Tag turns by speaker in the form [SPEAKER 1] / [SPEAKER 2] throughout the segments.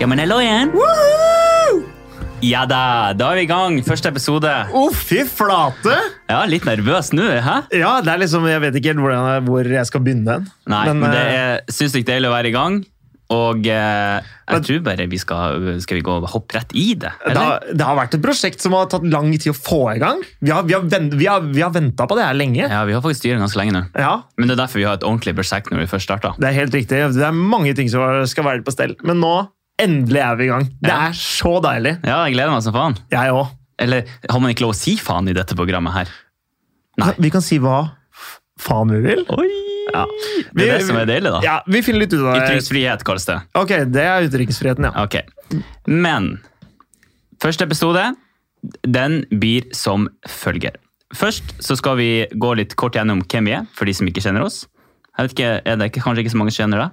[SPEAKER 1] barnelåjen. Ja da, da er vi i gang. Første episode.
[SPEAKER 2] Å, fy flate!
[SPEAKER 1] Ja, litt nervøs nå, hæ?
[SPEAKER 2] Ja, det er liksom, Jeg vet ikke helt hvordan, jeg- hvor jeg skal begynne den.
[SPEAKER 1] Nei, men, det
[SPEAKER 2] eh,
[SPEAKER 1] er sinnssykt deilig å være i gang. Og eh, jeg
[SPEAKER 2] Men-
[SPEAKER 1] tror bare vi skal, skal vi gå og hoppe rett i det.
[SPEAKER 2] det,
[SPEAKER 1] Eller?
[SPEAKER 2] har, det har vært et prosjekt som har tatt lang tid å få i gang. Vi har, vi har, ven- vi har, vi har venta på det her lenge.
[SPEAKER 1] Ja, vi har faktisk styret ganske lenge nå.
[SPEAKER 2] Ja,
[SPEAKER 1] Men det er derfor vi har et ordentlig prosjekt når vi først starter.
[SPEAKER 2] det er helt riktig. Det er mange ting som skal være på stell. Men nå, endelig er vi i gang. Det
[SPEAKER 1] Ja.
[SPEAKER 2] er så deilig.
[SPEAKER 1] Ja, jeg gleder meg som faen.
[SPEAKER 2] Jeg òg.
[SPEAKER 1] Eller har man ikke lov å si faen i dette programmet her? Nei.
[SPEAKER 2] Vi kan si hva f- faen vi vil.
[SPEAKER 1] Oi! Ja. Det er det som er deilig, da.
[SPEAKER 2] Ja, eh, Vi finner litt ut av det.
[SPEAKER 1] Ytringsfrihet kalles det.
[SPEAKER 2] Ok, Det er utenriksfriheten, ja.
[SPEAKER 1] Ok. Men første episode, den blir som følger. Først så skal vi gå litt kort gjennom hvem vi er, for de som ikke kjenner oss. Jeg vet ikke, er det ikke, Kanskje ikke så mange som kjenner det?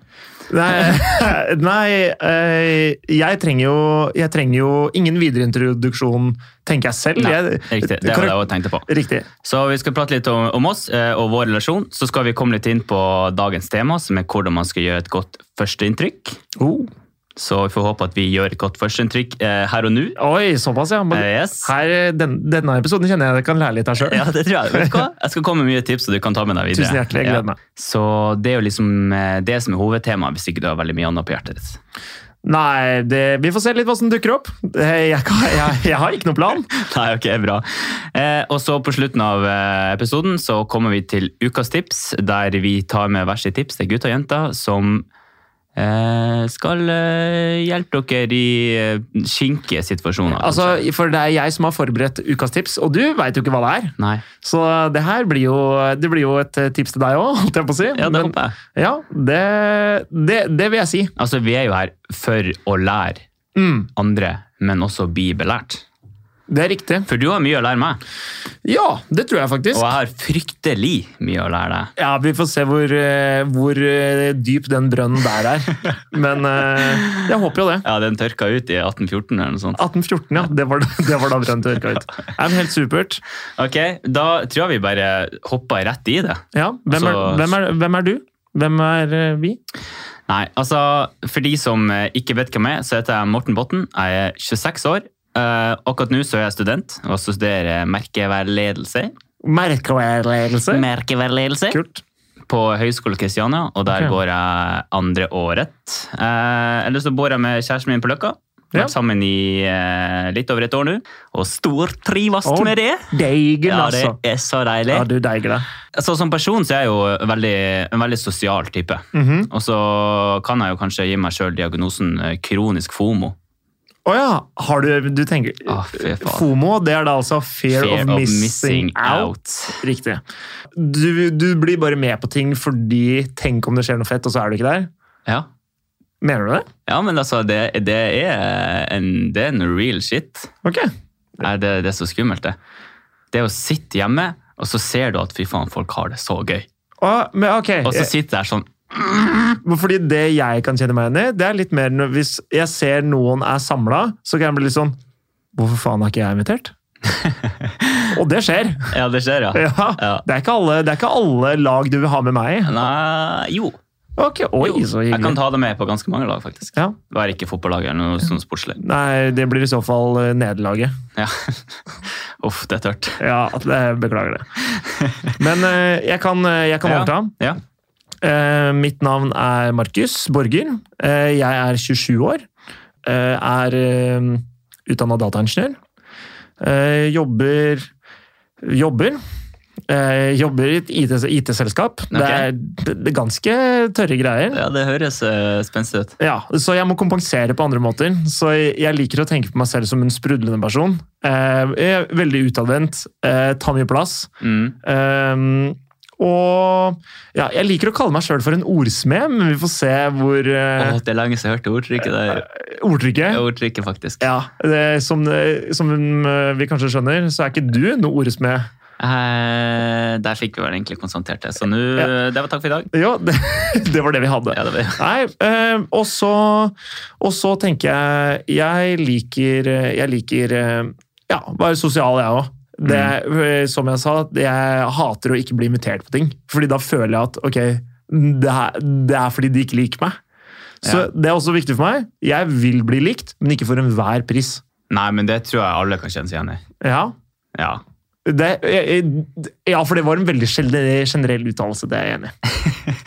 [SPEAKER 2] Nei, nei eh, jeg, trenger jo, jeg trenger jo ingen videre introduksjon, tenker jeg selv.
[SPEAKER 1] Nei,
[SPEAKER 2] jeg,
[SPEAKER 1] Riktig, det var det jeg også tenkte på.
[SPEAKER 2] Riktig.
[SPEAKER 1] Så vi skal prate litt om, om oss eh, og vår relasjon. Så skal vi komme litt inn på dagens tema, som er hvordan man skal gjøre et godt førsteinntrykk. Oh. Så vi får håpe at vi gjør et godt førsteinntrykk eh, her og nå.
[SPEAKER 2] Oi, såpass, ja. Men,
[SPEAKER 1] Eh, yes.
[SPEAKER 2] her, den, denne episoden kjenner jeg jeg kan lære litt av sjøl.
[SPEAKER 1] Ja, det tror jeg. Vet du hva? Jeg skal komme med mye tips, og du kan ta med deg videre.
[SPEAKER 2] Tusen hjertelig, jeg gleder
[SPEAKER 1] Ja.
[SPEAKER 2] meg.
[SPEAKER 1] Så det er jo liksom eh, det som er hovedtemaet, hvis ikke du har veldig mye annet på hjertet ditt.
[SPEAKER 2] Nei, det, vi får se litt hva som dukker opp. Eh, Jeg, kan, jeg, jeg har ikke noen plan.
[SPEAKER 1] Nei, ok, bra. Eh, og så på slutten av eh, episoden så kommer vi til ukas tips, der vi tar med hver sitt tips til gutter og jenter som eh, skal eh, hjelpe dere i eh, kinkige situasjoner.
[SPEAKER 2] Altså, for det er jeg som har forberedt ukas tips, og du veit jo ikke hva det er.
[SPEAKER 1] Nei,
[SPEAKER 2] Så det her blir jo, det blir jo et eh, tips til deg òg, holdt jeg på å si.
[SPEAKER 1] ja, det
[SPEAKER 2] Men-
[SPEAKER 1] håper jeg.
[SPEAKER 2] ja, det, det, det vil jeg si.
[SPEAKER 1] Altså, vi er jo her for å lære
[SPEAKER 2] Mm,
[SPEAKER 1] andre, men også bli belært.
[SPEAKER 2] det er riktig.
[SPEAKER 1] For du har mye å lære meg.
[SPEAKER 2] Ja, det tror jeg faktisk.
[SPEAKER 1] Og jeg har fryktelig mye å lære deg.
[SPEAKER 2] Ja, Vi får se hvor, eh, hvor eh, dyp den brønnen der er. Men eh, jeg håper jo det.
[SPEAKER 1] Ja, den tørka ut i 1814 eller noe sånt.
[SPEAKER 2] 1814, ja. Det var, det var da brønnen tørka ut. Ja, men helt supert.
[SPEAKER 1] Ok, da tror jeg vi bare hopper rett i det.
[SPEAKER 2] Ja, hvem, er,
[SPEAKER 1] Altså-
[SPEAKER 2] hvem, er, hvem er du? Hvem er eh, vi?
[SPEAKER 1] Nei, altså, for de som eh, ikke vet hvem jeg er, så heter jeg Morten Botten. Jeg er 26 år. Eh, akkurat nå så er jeg student og studerer merkeværledelse.
[SPEAKER 2] Merkeværeledelse.
[SPEAKER 1] Merkeværledelse
[SPEAKER 2] Kult.
[SPEAKER 1] på Høgskolen Kristiania, og der
[SPEAKER 2] Ok.
[SPEAKER 1] går jeg andre året. Eh, Eller så bor jeg med kjæresten min på Løkka. Vi har
[SPEAKER 2] Ja.
[SPEAKER 1] vært sammen i eh, litt over et år nå, og stortrives
[SPEAKER 2] Å,
[SPEAKER 1] med det.
[SPEAKER 2] Deigen,
[SPEAKER 1] Ja, det
[SPEAKER 2] altså.
[SPEAKER 1] er så deilig.
[SPEAKER 2] Ja, du deiger deg.
[SPEAKER 1] Så som person så er jeg jo veldig, en veldig sosial type.
[SPEAKER 2] Mhm.
[SPEAKER 1] Og så kan jeg jo kanskje gi meg sjøl diagnosen eh, kronisk fomo.
[SPEAKER 2] Å ja, har du Du tenker
[SPEAKER 1] Å, Ah, fy faen.
[SPEAKER 2] FOMO, det er da altså fear, of, missing, out. Riktig. Du, du blir bare med på ting fordi Tenk om det skjer noe fett, og så er du ikke der.
[SPEAKER 1] Ja.
[SPEAKER 2] Mener du det?
[SPEAKER 1] ja, men altså, det, det, er en, det er en real shit.
[SPEAKER 2] Ok.
[SPEAKER 1] Nei, det, det er så skummelt, det. Det å sitte hjemme, og så ser du at fy faen, folk har det så gøy.
[SPEAKER 2] Ah, men ok.
[SPEAKER 1] Og så sitter jeg der sånn
[SPEAKER 2] Eh, Fordi det jeg kan kjenne meg igjen i, det er litt mer når- hvis jeg ser noen er samla, så kan jeg bli litt sånn Hvorfor faen er ikke jeg invitert? og det skjer.
[SPEAKER 1] Ja, det skjer, ja.
[SPEAKER 2] Ja.
[SPEAKER 1] Ja.
[SPEAKER 2] Det, er ikke alle, det er ikke alle lag du vil ha med meg i.
[SPEAKER 1] Nei, jo.
[SPEAKER 2] Ok, oi,
[SPEAKER 1] jo.
[SPEAKER 2] så
[SPEAKER 1] Jeg kan
[SPEAKER 2] hyggelig.
[SPEAKER 1] ta det med på ganske mange lag, faktisk.
[SPEAKER 2] Ja.
[SPEAKER 1] Være ikke fotballag eller noe sånn sportslig.
[SPEAKER 2] Nei, det blir i så fall eh, nederlaget.
[SPEAKER 1] Ja. Uff, det er tørt.
[SPEAKER 2] Ja, det, beklager det. Men eh, jeg kan, eh, jeg kan
[SPEAKER 1] Ja.
[SPEAKER 2] overta.
[SPEAKER 1] Ja.
[SPEAKER 2] Eh, mitt navn er Markus Borger. Eh, jeg er 27 år. Eh, er eh, utdanna dataingeniør. Eh, jobber Jobber. Eh, jobber i et IT IT-selskap.
[SPEAKER 1] Ok.
[SPEAKER 2] Det, er, det, det er ganske tørre greier.
[SPEAKER 1] Ja, det høres uh, spenstig ut.
[SPEAKER 2] Ja, Så jeg må kompensere på andre måter. Så jeg, jeg liker å tenke på meg selv som en sprudlende person. Eh, jeg er veldig utadvendt, eh, tar mye plass.
[SPEAKER 1] Mm.
[SPEAKER 2] Ehm, og ja, jeg liker å kalle meg sjøl for en ordsmed, men vi får se hvor eh,
[SPEAKER 1] Åh, det er lenge siden jeg hørte ordtrykket der.
[SPEAKER 2] ordtrykket
[SPEAKER 1] Ordtrykket, faktisk.
[SPEAKER 2] ja, det, som, det- som eh, vi kanskje skjønner, så er ikke du noe ordsmed.
[SPEAKER 1] Eh, der fikk vi vel egentlig konstatert det. Så nå, det var takk for i dag.
[SPEAKER 2] Jo, det, det var det vi hadde.
[SPEAKER 1] Ja, det var,
[SPEAKER 2] Nei, eh, og så Og så tenker jeg Jeg liker eh, Jeg liker eh, Ja, være sosial, jeg òg. Det, eh, Som jeg sa, det- jeg hater å ikke bli invitert på ting. Fordi da føler jeg at ok, det, her, det er fordi de ikke liker meg. Så det er også viktig for meg. Jeg vil bli likt, men ikke for enhver pris.
[SPEAKER 1] Nei, men det tror jeg alle kan kjenne seg igjen i.
[SPEAKER 2] Ja,
[SPEAKER 1] Ja.
[SPEAKER 2] det, jeg- jeg- ja for det var en veldig generell, generell uttalelse. Det er jeg enig i.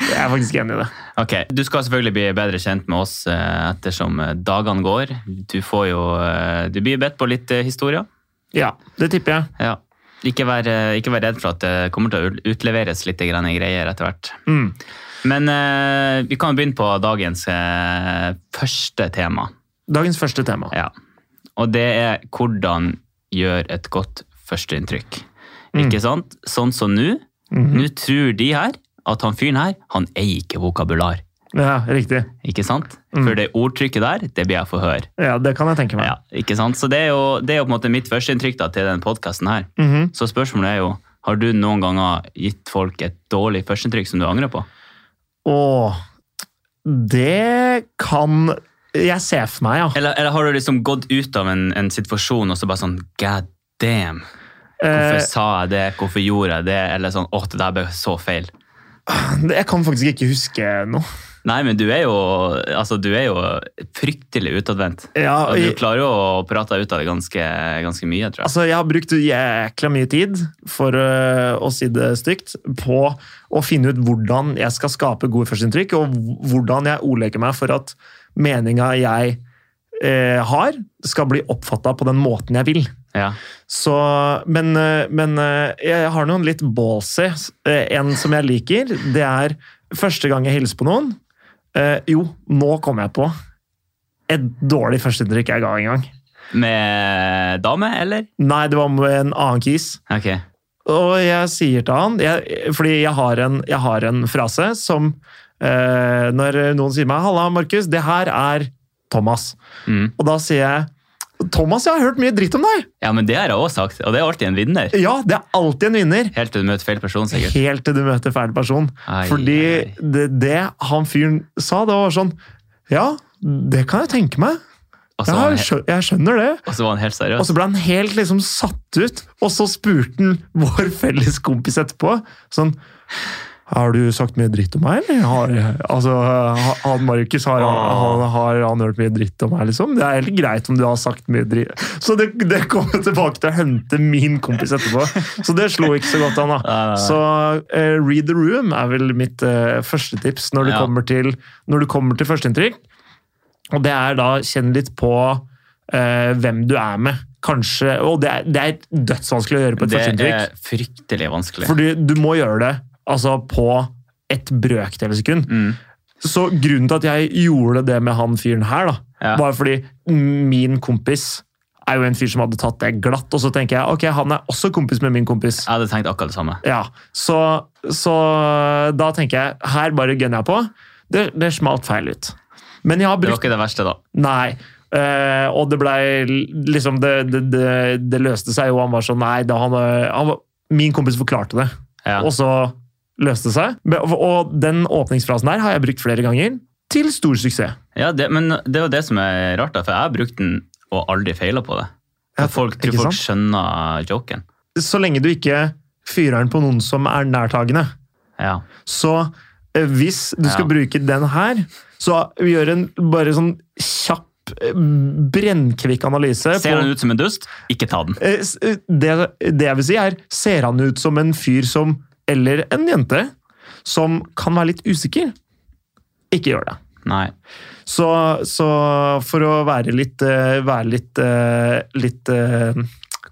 [SPEAKER 2] Jeg er faktisk enig i det.
[SPEAKER 1] Ok, Du skal selvfølgelig bli bedre kjent med oss eh, ettersom eh, dagene går. Du får jo eh, Du blir bedt på litt eh, historier.
[SPEAKER 2] Ja, det tipper jeg.
[SPEAKER 1] Ja. Ikke vær, eh, ikke vær redd for at det kommer til å utleveres litt grann greier etter hvert.
[SPEAKER 2] Mm.
[SPEAKER 1] Men eh, vi kan begynne på dagens eh, første tema.
[SPEAKER 2] Dagens første tema.
[SPEAKER 1] Ja. Og det er hvordan gjør et godt førsteinntrykk. Ikke sant? Sånn som nå.
[SPEAKER 2] Mhm.
[SPEAKER 1] Nå tror de her at han fyren her, han eier ikke vokabular.
[SPEAKER 2] Ja, riktig.
[SPEAKER 1] Ikke sant?
[SPEAKER 2] Mm.
[SPEAKER 1] For det ordtrykket der, det blir jeg forhør.
[SPEAKER 2] Ja, Det kan jeg tenke meg.
[SPEAKER 1] Ja, ikke sant? Så det er jo, det er jo på en måte mitt førsteinntrykk da, til den podkasten her.
[SPEAKER 2] Mhm.
[SPEAKER 1] Så spørsmålet er jo, har du noen ganger gitt folk et dårlig førsteinntrykk som du angrer på?
[SPEAKER 2] Åh, det kan Jeg ser for meg, ja.
[SPEAKER 1] Eller, eller har du liksom gått ut av en, en situasjon og så bare sånn, god damn, hvorfor
[SPEAKER 2] Eh,
[SPEAKER 1] sa jeg det, hvorfor gjorde jeg det, eller sånn, åh, det der ble så feil.
[SPEAKER 2] Eh, jeg kan faktisk ikke huske noe.
[SPEAKER 1] Nei, men du er jo, altså, du er jo fryktelig utadvendt.
[SPEAKER 2] Ja,
[SPEAKER 1] Og du
[SPEAKER 2] jeg-
[SPEAKER 1] klarer jo å prate deg ut av det ganske, ganske mye, tror jeg.
[SPEAKER 2] Altså, jeg har brukt jækla mye tid, for øh, å si det stygt, på å finne ut hvordan jeg skal skape gode førsteinntrykk, og hv- hvordan jeg ordlegger meg for at meninga jeg eh, har, skal bli oppfatta på den måten jeg vil.
[SPEAKER 1] Ja.
[SPEAKER 2] Så, men, eh, men eh, jeg har noen litt ballsy. Eh, En som jeg liker, det er første gang jeg hilser på noen. Eh, jo, nå kom jeg på et dårlig førsteinntrykk jeg ga en gang.
[SPEAKER 1] Med dame, eller?
[SPEAKER 2] Nei, det var med en annen kis.
[SPEAKER 1] Ok.
[SPEAKER 2] Og jeg sier til han jeg, Fordi jeg har en, jeg har en frase som eh, Når noen sier meg 'Halla, Markus, det her er Thomas',
[SPEAKER 1] Mm.
[SPEAKER 2] og da sier jeg 'Thomas, jeg har hørt mye dritt om deg'.
[SPEAKER 1] Ja, men det har jeg også sagt, og det er alltid en vinner.
[SPEAKER 2] Ja, det er alltid en vinner.
[SPEAKER 1] Helt til du møter feil person, sikkert.
[SPEAKER 2] Helt til du møter feil person.
[SPEAKER 1] Ai,
[SPEAKER 2] Fordi
[SPEAKER 1] ai.
[SPEAKER 2] det, det han fyren sa, det var sånn Ja, det kan jeg tenke meg.
[SPEAKER 1] Og så, var Altså,
[SPEAKER 2] Ja,
[SPEAKER 1] han
[SPEAKER 2] jeg,
[SPEAKER 1] he-
[SPEAKER 2] skjø jeg skjønner det.
[SPEAKER 1] og så var han helt
[SPEAKER 2] Og
[SPEAKER 1] seriøs.
[SPEAKER 2] så ble han helt liksom satt ut, og så spurte han vår felles kompis etterpå sånn har du sagt mye dritt om meg, eller? Har, altså, ha- han Markus, har,
[SPEAKER 1] Ah.
[SPEAKER 2] han, har han hørt mye dritt om meg, liksom? Det er helt greit om du har sagt mye dritt. Så det, det kom jeg tilbake til å hente min kompis etterpå. Så det slo ikke så godt an, da.
[SPEAKER 1] Nei, nei, nei.
[SPEAKER 2] Så eh, read the room er vel mitt eh, første tips når det
[SPEAKER 1] Ja.
[SPEAKER 2] kommer til, når det kommer til førsteinntrykk. Og det er da kjenn litt på eh, hvem du er med. Kanskje, og det er, det er dødsvanskelig å gjøre på et
[SPEAKER 1] Det
[SPEAKER 2] førsteinntrykk.
[SPEAKER 1] er fryktelig vanskelig.
[SPEAKER 2] Fordi du må gjøre det altså, på et brøkdels sekund.
[SPEAKER 1] Mm.
[SPEAKER 2] Så grunnen til at jeg gjorde det med han fyren her, da,
[SPEAKER 1] Ja.
[SPEAKER 2] var fordi min kompis er jo en fyr som hadde tatt det glatt. Og så tenker jeg ok, han er også kompis med min kompis.
[SPEAKER 1] Jeg hadde tenkt akkurat det samme.
[SPEAKER 2] Ja, så, så da tenker jeg her bare gønner jeg på. Det, det smalt feil ut. Men jeg har
[SPEAKER 1] Det var
[SPEAKER 2] brukt
[SPEAKER 1] ikke det verste, da.
[SPEAKER 2] Nei. Eh, og det blei liksom det, det, det, det løste seg jo. Han var sånn Nei, da han, eh, han var, min kompis forklarte det,
[SPEAKER 1] Ja.
[SPEAKER 2] og så løste det seg. Men- Og den åpningsfrasen der har jeg brukt flere ganger, til stor suksess.
[SPEAKER 1] Ja, det, men det er jo det som er rart, da, for jeg har brukt den og aldri feila på det.
[SPEAKER 2] Ja,
[SPEAKER 1] For folk tror
[SPEAKER 2] ikke
[SPEAKER 1] folk skjønner joken.
[SPEAKER 2] Så lenge du ikke fyrer den på noen som er nærtagende.
[SPEAKER 1] Ja.
[SPEAKER 2] Så eh, hvis du skal
[SPEAKER 1] Ja.
[SPEAKER 2] bruke den her, så gjør en bare sånn kjapp, eh, brennkvikk analyse.
[SPEAKER 1] Ser han ut som en dust? Ikke ta den.
[SPEAKER 2] Eh, s- eh, Det, det jeg vil si er, ser han ut som en fyr som, eller en jente, som kan være litt usikker? Ikke gjør det.
[SPEAKER 1] Nei.
[SPEAKER 2] Så, så for å være litt, eh, være litt, eh, litt eh,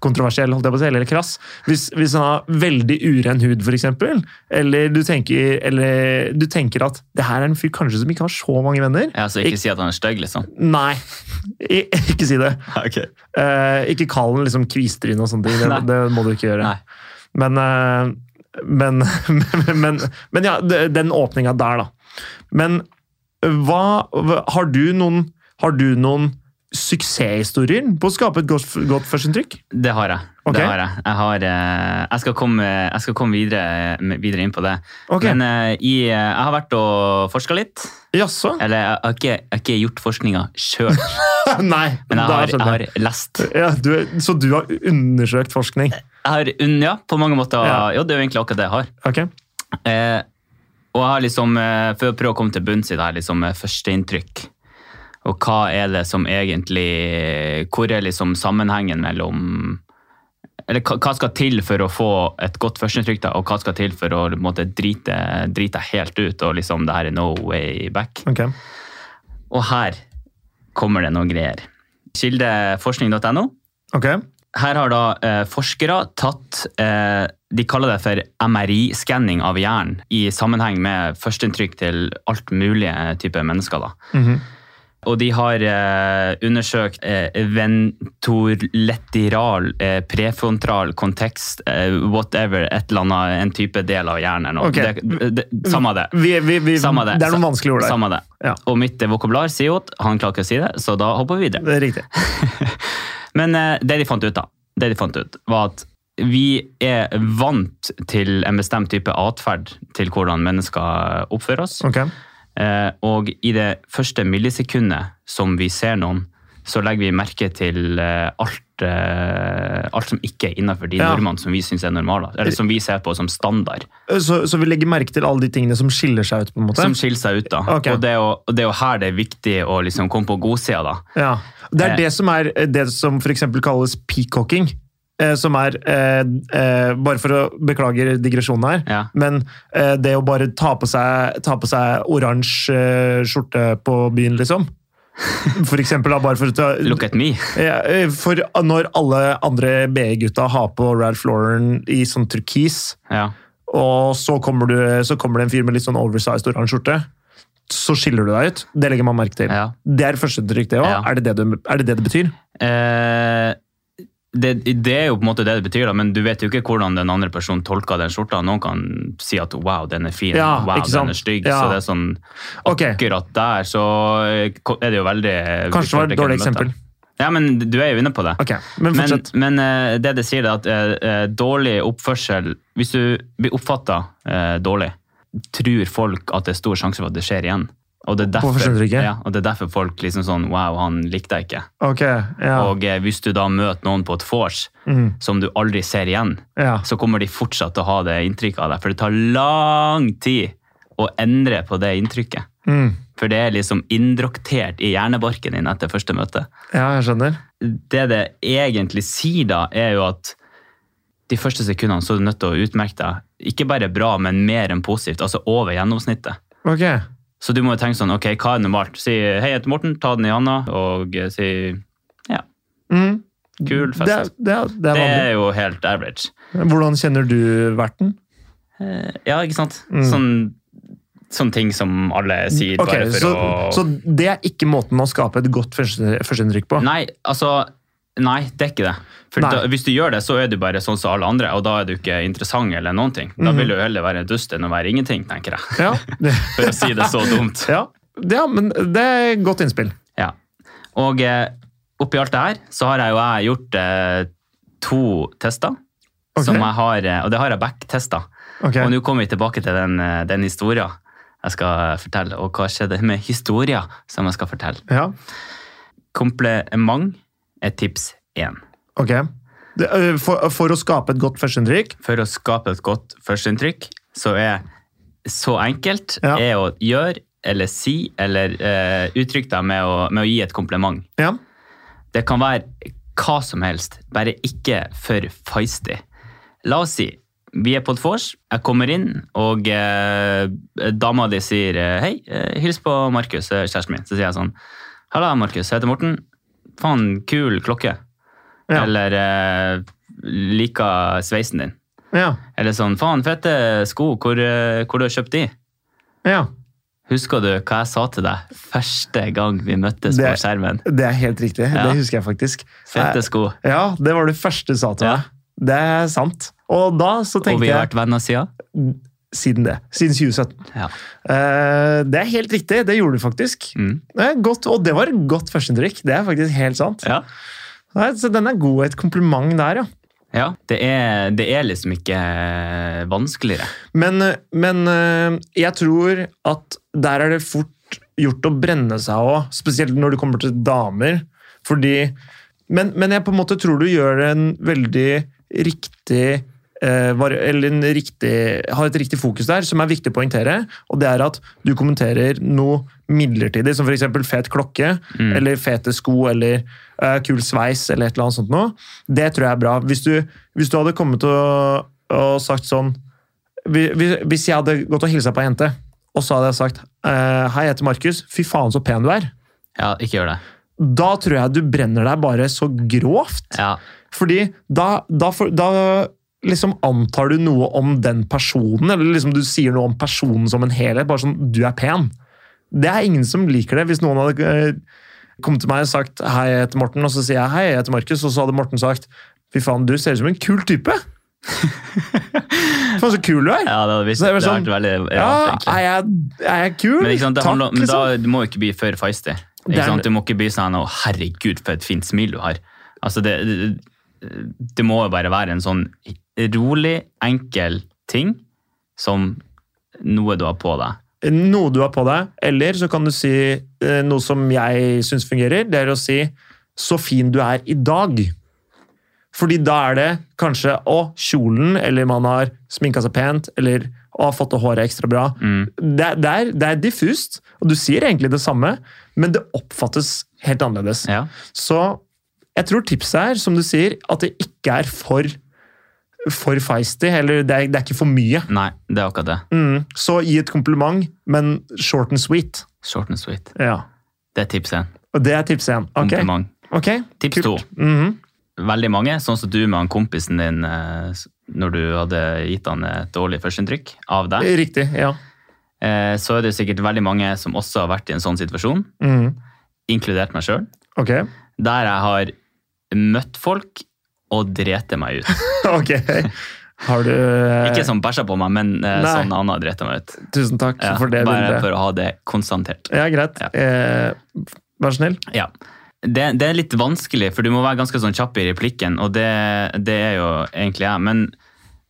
[SPEAKER 2] kontroversiell, holdt jeg på å si, eller krass Hvis, hvis han har veldig uren hud, f.eks., eller, du tenker- eller du tenker at det her er en fyr kanskje som ikke har så mange venner
[SPEAKER 1] Ja, så ikke si at han er stygg, liksom.
[SPEAKER 2] Nei, i- ikke si det.
[SPEAKER 1] Okay.
[SPEAKER 2] Eh, ikke kall den liksom kvistryn og sånne ting. Det,
[SPEAKER 1] Nei.
[SPEAKER 2] det må du ikke gjøre.
[SPEAKER 1] Nei.
[SPEAKER 2] Men, eh, men, men, men, men ja, d- den åpninga der, da. Men hva hva- Har du noen, har du noen suksesshistorier på å skape et godt, godt førsteinntrykk?
[SPEAKER 1] Det har jeg.
[SPEAKER 2] Ok.
[SPEAKER 1] Det har jeg. Jeg, har, eh, jeg skal komme, jeg skal komme videre, videre inn på det.
[SPEAKER 2] Ok.
[SPEAKER 1] Men eh, i, eh, jeg har vært og forska litt.
[SPEAKER 2] Jaså?
[SPEAKER 1] Eller jeg har ikke, jeg har ikke gjort forskninga sjøl,
[SPEAKER 2] Nei.
[SPEAKER 1] men jeg
[SPEAKER 2] da
[SPEAKER 1] har, jeg
[SPEAKER 2] skjønner
[SPEAKER 1] har
[SPEAKER 2] jeg.
[SPEAKER 1] lest.
[SPEAKER 2] Ja, du, så du har undersøkt forskning?
[SPEAKER 1] Jeg har, un- ja, på mange måter,
[SPEAKER 2] Ja.
[SPEAKER 1] ja, det er jo egentlig akkurat det jeg har.
[SPEAKER 2] Ok.
[SPEAKER 1] Eh, Og jeg har liksom, eh, for å prøve å komme til bunns i det her, liksom eh, førsteinntrykk. Og hva er det som egentlig Hvor er liksom sammenhengen mellom Eller hva hva skal til for å få et godt førsteinntrykk, da, og hva skal til for å på en måte, drite, drite helt ut, og liksom det her er no way back?
[SPEAKER 2] Ok.
[SPEAKER 1] Og her kommer det noen greier. Kildeforskning.no.
[SPEAKER 2] Ok.
[SPEAKER 1] Her har da eh, forskere tatt eh, De kaller det for MRI-skanning av hjernen i sammenheng med førsteinntrykk til alt mulige typer mennesker. da.
[SPEAKER 2] Mhm.
[SPEAKER 1] Og de har eh, undersøkt eh, ventorletiral, eh, prefrontal kontekst, eh, whatever, et eller annet, en type del av hjernen. Og
[SPEAKER 2] Ok.
[SPEAKER 1] Det, det, samme det.
[SPEAKER 2] vi, vi, vi,
[SPEAKER 1] Samme det.
[SPEAKER 2] det er noen vanskelige ord der.
[SPEAKER 1] Samme det.
[SPEAKER 2] Ja.
[SPEAKER 1] Og mitt vokabular sier jo at han klarer ikke å si det, så da hopper vi videre.
[SPEAKER 2] Det er riktig.
[SPEAKER 1] Men eh, det de fant ut, da, det de fant ut, var at vi er vant til en bestemt type atferd til hvordan mennesker oppfører oss.
[SPEAKER 2] Ok.
[SPEAKER 1] Eh, og i det første millisekundet som vi ser noen, så legger vi merke til eh, alt, eh, alt som ikke er innafor de
[SPEAKER 2] Ja.
[SPEAKER 1] normene som vi syns er normale. Eller som vi ser på som standard.
[SPEAKER 2] Så, så vi legger merke til alle de tingene som skiller seg ut, på en måte?
[SPEAKER 1] Som skiller seg ut, da.
[SPEAKER 2] Ok.
[SPEAKER 1] Og, det er jo, og det er jo her det er viktig å liksom komme på godsida, da.
[SPEAKER 2] Ja. Det er
[SPEAKER 1] Eh.
[SPEAKER 2] det som er det som for eksempel kalles peacocking. eh, Som er eh, eh, Bare for å beklage digresjonen her,
[SPEAKER 1] Ja.
[SPEAKER 2] men eh, det å bare ta på seg, ta på seg oransje eh, skjorte på byen, liksom. For eksempel, da, bare for å ta
[SPEAKER 1] Look at me.
[SPEAKER 2] Ja, eh, For når alle andre BI-gutta har på Ralph Lauren i sånn turkis,
[SPEAKER 1] Ja.
[SPEAKER 2] og så kommer, du, så kommer det en fyr med litt sånn oversized oransje skjorte, så skiller du deg ut. Det legger man merke til.
[SPEAKER 1] ja.
[SPEAKER 2] Det er førsteinntrykk, det òg.
[SPEAKER 1] Ja.
[SPEAKER 2] Er, det det du- er det det det betyr?
[SPEAKER 1] Eh, det, det er jo på en måte det det betyr, da, men du vet jo ikke hvordan den andre personen tolker den skjorta. Noen kan si at 'wow, den er fin',
[SPEAKER 2] Ja,
[SPEAKER 1] 'wow,
[SPEAKER 2] ikke sant?
[SPEAKER 1] den er stygg'.
[SPEAKER 2] Ja.
[SPEAKER 1] Så det er sånn
[SPEAKER 2] Ok,
[SPEAKER 1] akkurat der, så eh, er det jo veldig
[SPEAKER 2] kanskje det var et dårlig
[SPEAKER 1] Møte.
[SPEAKER 2] eksempel.
[SPEAKER 1] Ja, men du er jo inne på det.
[SPEAKER 2] Ok, Men
[SPEAKER 1] Men,
[SPEAKER 2] fortsett.
[SPEAKER 1] men eh, det det sier, er at eh, eh, dårlig oppførsel Hvis du blir oppfatta eh, dårlig, tror folk at det er stor sjanse for at det skjer igjen. Og det er
[SPEAKER 2] På
[SPEAKER 1] derfor,
[SPEAKER 2] førsteinntrykket?
[SPEAKER 1] ja, og det er derfor folk liksom sånn Wow, han likte jeg ikke.
[SPEAKER 2] Ok, ja.
[SPEAKER 1] Og eh, hvis du da møter noen på et vors
[SPEAKER 2] Mm,
[SPEAKER 1] som du aldri ser igjen,
[SPEAKER 2] ja.
[SPEAKER 1] så kommer de fortsatt til å ha det inntrykket av deg. For det tar lang tid å endre på det inntrykket.
[SPEAKER 2] Mm,
[SPEAKER 1] For det er liksom indroktert i hjernebarken din etter første møte.
[SPEAKER 2] ja, jeg skjønner.
[SPEAKER 1] Det det egentlig sier da, er jo at de første sekundene så er du nødt til å utmerke deg ikke bare bra, men mer enn positivt. Altså over gjennomsnittet.
[SPEAKER 2] Ok,
[SPEAKER 1] Så du må jo tenke sånn, ok, hva er normalt? Si hei, jeg heter Morten, ta den i handa, og eh, si ja,
[SPEAKER 2] mm.
[SPEAKER 1] kul fest.
[SPEAKER 2] Det, er- det, er- det er
[SPEAKER 1] Det
[SPEAKER 2] vanlig.
[SPEAKER 1] er jo helt average.
[SPEAKER 2] Hvordan kjenner du verten?
[SPEAKER 1] Eh, Ja, ikke sant?
[SPEAKER 2] Mm.
[SPEAKER 1] Sånn, sånn ting som alle sier
[SPEAKER 2] Ok,
[SPEAKER 1] bare for
[SPEAKER 2] så,
[SPEAKER 1] å
[SPEAKER 2] så det er ikke måten å skape et godt første- førsteinntrykk på?
[SPEAKER 1] Nei, altså Nei, det er ikke det. For
[SPEAKER 2] Nei.
[SPEAKER 1] da, hvis du gjør det, så er du bare sånn som alle andre, og da er du ikke interessant eller noen ting. Da
[SPEAKER 2] Mm.
[SPEAKER 1] vil du heller være en dust enn å være ingenting, tenker jeg.
[SPEAKER 2] Ja.
[SPEAKER 1] For å si det så dumt.
[SPEAKER 2] ja. ja, men det er et godt innspill.
[SPEAKER 1] Ja. Og eh, oppi alt det her, så har jeg jo jeg gjort eh, to tester.
[SPEAKER 2] Ok.
[SPEAKER 1] Som jeg har, eh, og det har jeg back-testa.
[SPEAKER 2] Ok,
[SPEAKER 1] Og nå kommer vi tilbake til den, eh, den historia jeg skal fortelle. Og hva skjedde med historia som jeg skal fortelle?
[SPEAKER 2] ja.
[SPEAKER 1] Komplement er tips én.
[SPEAKER 2] ok. Det, ø, For, for å skape et godt førsteinntrykk
[SPEAKER 1] For å skape et godt førsteinntrykk, så er så enkelt
[SPEAKER 2] Ja.
[SPEAKER 1] er å gjøre eller si eller eh, uttrykke deg med å, med å gi et kompliment.
[SPEAKER 2] ja.
[SPEAKER 1] Det kan være hva som helst, bare ikke for feisty. La oss si vi er på et vors, jeg kommer inn, og eh, dama di sier eh, 'hei, eh, hils på Markus, eh, kjæresten min'. Så sier jeg sånn 'halla, Markus, jeg heter Morten. Faen, kul klokke'.
[SPEAKER 2] Ja.
[SPEAKER 1] Eller eh, 'liker sveisen din'.
[SPEAKER 2] ja.
[SPEAKER 1] Eller sånn 'faen, fete sko, hvor, eh, hvor du har kjøpt de'?
[SPEAKER 2] ja.
[SPEAKER 1] Husker du hva jeg sa til deg første gang vi møttes på
[SPEAKER 2] Det-
[SPEAKER 1] skjermen?
[SPEAKER 2] Det er helt riktig.
[SPEAKER 1] Ja.
[SPEAKER 2] Det husker jeg faktisk. Eh,
[SPEAKER 1] Fete sko.
[SPEAKER 2] Ja, det var det første du sa til
[SPEAKER 1] Ja.
[SPEAKER 2] meg. Det er sant. Og da så
[SPEAKER 1] Og
[SPEAKER 2] tenkte
[SPEAKER 1] vi har
[SPEAKER 2] jeg
[SPEAKER 1] vært venner siden.
[SPEAKER 2] Siden det. Siden 2017.
[SPEAKER 1] Ja.
[SPEAKER 2] Eh, det er helt riktig. Det gjorde du faktisk.
[SPEAKER 1] Mm.
[SPEAKER 2] Det er godt, og det var et godt førsteinntrykk. Det er faktisk helt sant.
[SPEAKER 1] Ja.
[SPEAKER 2] Nei, Så den er god. Et kompliment der, ja.
[SPEAKER 1] Ja, det er, det er liksom ikke eh, vanskeligere.
[SPEAKER 2] Men, men eh, jeg tror at der er det fort gjort å brenne seg òg, spesielt når det kommer til damer. Fordi, men, men jeg på en måte tror du gjør en veldig riktig eh, var, eller en riktig, har et riktig fokus der, som er viktig å poengtere. Og det er at du kommenterer noe midlertidig, som f.eks. fet klokke,
[SPEAKER 1] Mm.
[SPEAKER 2] eller fete sko, eller eh, kul sveis, eller et eller annet sånt noe. Det tror jeg er bra. Hvis du, hvis du hadde kommet og, og sagt sånn hvi- hvi- Hvis jeg hadde gått og hilsa på ei jente, og så hadde jeg sagt eh, Hei, jeg heter Markus. Fy faen, så pen du er.
[SPEAKER 1] Ja, ikke gjør det.
[SPEAKER 2] Da tror jeg du brenner deg bare så grovt.
[SPEAKER 1] Ja,
[SPEAKER 2] Fordi da, da, får- da liksom antar du noe om den personen, eller liksom du sier noe om personen som en helhet, bare sånn, du er pen. Det er ingen som liker det. Hvis noen hadde eh, kommet til meg og sagt, hei, jeg heter Morten, og så sier jeg, hei, jeg heter Markus, og så hadde Morten sagt, fy faen, du ser ut som en kul type. faen, så kul du er.
[SPEAKER 1] ja det hadde visst
[SPEAKER 2] Så det er vel
[SPEAKER 1] det hadde
[SPEAKER 2] sånn-
[SPEAKER 1] vært veldig
[SPEAKER 2] Ja,
[SPEAKER 1] rart, egentlig.
[SPEAKER 2] er, jeg, er jeg kul?
[SPEAKER 1] Men, ikke sant, det
[SPEAKER 2] Takk,
[SPEAKER 1] handler, om- men da
[SPEAKER 2] liksom.
[SPEAKER 1] du må jo ikke bli for feisty. Ikke
[SPEAKER 2] Det er-
[SPEAKER 1] sant? Du må ikke bli sånn 'Å, herregud, for et fint smil du har'. Altså, det, det, det må jo bare være en sånn rolig, enkel ting som noe du har på deg.
[SPEAKER 2] noe du har på deg, eller så kan du si eh, noe som jeg syns fungerer. Det er å si 'så fin du er i dag'. Fordi da er det kanskje 'å, kjolen', eller man har sminka seg pent, eller 'å, har fått det håret ekstra bra'.
[SPEAKER 1] Mm.
[SPEAKER 2] Det, er- det, er, det er diffust, og du sier egentlig det samme, men det oppfattes helt annerledes.
[SPEAKER 1] Ja.
[SPEAKER 2] Så jeg tror tipset er, som du sier, at det ikke er for, for feisty, eller det er, det er ikke for mye.
[SPEAKER 1] Nei, det er akkurat det.
[SPEAKER 2] Mm. Så gi et kompliment, men short and sweet.
[SPEAKER 1] Short and sweet.
[SPEAKER 2] Ja.
[SPEAKER 1] Det er tips én.
[SPEAKER 2] Og det er tips én. Ok.
[SPEAKER 1] Kompliment.
[SPEAKER 2] ok.
[SPEAKER 1] Tips
[SPEAKER 2] Kult.
[SPEAKER 1] to.
[SPEAKER 2] Mhm.
[SPEAKER 1] Veldig mange, sånn som du med han kompisen din eh, s- når du hadde gitt han et dårlig førsteinntrykk av deg,
[SPEAKER 2] Riktig. Ja.
[SPEAKER 1] eh, så er det sikkert veldig mange som også har vært i en sånn situasjon,
[SPEAKER 2] Mhm.
[SPEAKER 1] inkludert meg sjøl,
[SPEAKER 2] Ok.
[SPEAKER 1] der jeg har møtt folk og drete meg ut.
[SPEAKER 2] ok. Har du eh,
[SPEAKER 1] Ikke som bæsja på meg, men eh,
[SPEAKER 2] Nei.
[SPEAKER 1] sånn Anna drete meg ut.
[SPEAKER 2] Tusen takk
[SPEAKER 1] Ja,
[SPEAKER 2] for det
[SPEAKER 1] bare
[SPEAKER 2] bildet.
[SPEAKER 1] for å ha det konstatert.
[SPEAKER 2] Ja, greit.
[SPEAKER 1] Ja.
[SPEAKER 2] Eh, vær så snill.
[SPEAKER 1] Ja. Det, det er litt vanskelig, for du må være ganske sånn kjapp i replikken, og det, det er jo egentlig jeg. Men,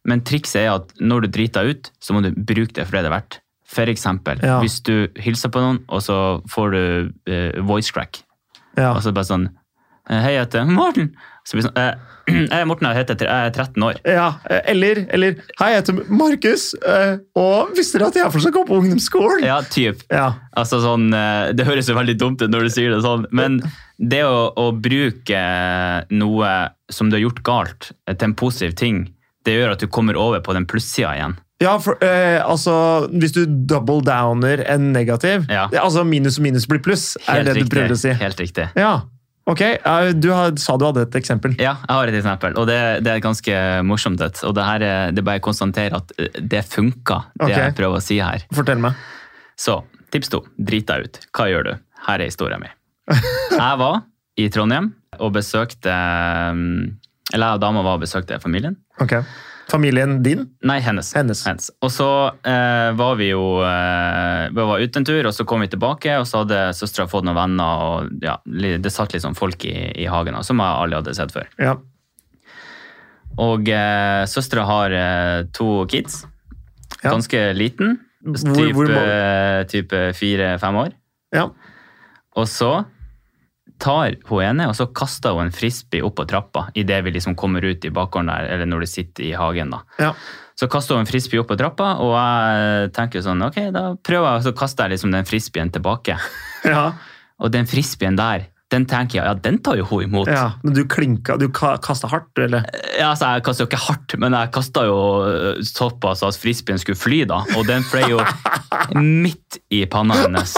[SPEAKER 1] men trikset er at når du driter deg ut, så må du bruke det for det det er verdt. For eksempel,
[SPEAKER 2] Ja.
[SPEAKER 1] hvis du hilser på noen, og så får du eh, voice crack.
[SPEAKER 2] Ja.
[SPEAKER 1] Og så bare sånn eh, Hei, jeg heter Morten. Så blir det sånn, eh, jeg er Morten, jeg, heter, jeg er 13 år.
[SPEAKER 2] ja. eh, Eller, eller Hei, jeg heter Markus, eh, og visste dere at jeg fortsatt går på ungdomsskolen?
[SPEAKER 1] Ja, typ.
[SPEAKER 2] Ja.
[SPEAKER 1] Altså sånn, eh, Det høres jo veldig dumt ut når du sier det sånn, men det å, å bruke eh, noe som du har gjort galt, eh, til en positiv ting, det gjør at du kommer over på den plussida igjen.
[SPEAKER 2] Ja, for, eh, altså, hvis du double downer en negativ
[SPEAKER 1] Ja.
[SPEAKER 2] Altså minus og minus blir pluss, er det du prøvde å si.
[SPEAKER 1] Helt riktig.
[SPEAKER 2] Ja, ok. Eh, Du har, sa du hadde et eksempel.
[SPEAKER 1] Ja, jeg har et eksempel, og det, det er ganske morsomt. et. Og det her er, det er bare å konstatere at eh, det funker, det
[SPEAKER 2] Ok.
[SPEAKER 1] jeg prøver å si her.
[SPEAKER 2] Fortell meg.
[SPEAKER 1] Så tips to. Drit deg ut. Hva gjør du? Her er historien min. Jeg var i Trondheim og besøkte mm, Eller jeg og dama var og besøkte familien.
[SPEAKER 2] Ok. Familien din?
[SPEAKER 1] Nei, hennes.
[SPEAKER 2] Hennes.
[SPEAKER 1] Hens. Og så eh, var vi jo eh, vi var ute en tur, og så kom vi tilbake, og så hadde søstera fått noen venner, og ja, li- det satt litt sånn folk i, i hagen, og som jeg aldri hadde sett før.
[SPEAKER 2] Ja.
[SPEAKER 1] Og eh, søstera har eh, to kids.
[SPEAKER 2] Ja.
[SPEAKER 1] Ganske liten.
[SPEAKER 2] Hvor-
[SPEAKER 1] Type,
[SPEAKER 2] hvor mange?
[SPEAKER 1] type fire-fem år.
[SPEAKER 2] ja.
[SPEAKER 1] Og så tar hun ene, og så kaster hun en frisbee opp på trappa idet vi liksom kommer ut i bakgården der, eller når de sitter i hagen. da.
[SPEAKER 2] Ja.
[SPEAKER 1] Så kaster hun en frisbee opp på trappa, og jeg tenker sånn, ok, da prøver jeg, og så kaster jeg liksom den frisbeen tilbake.
[SPEAKER 2] ja.
[SPEAKER 1] Og den frisbeen der, den tenker jeg, ja, den tar jo hun imot.
[SPEAKER 2] ja. Men du klinka Du ka- kasta hardt, du, eller?
[SPEAKER 1] Ja, altså, jeg kastet jo ikke hardt, men jeg kastet jo øh, såpass at frisbeen skulle fly da, og den fløy jo midt i panna hennes.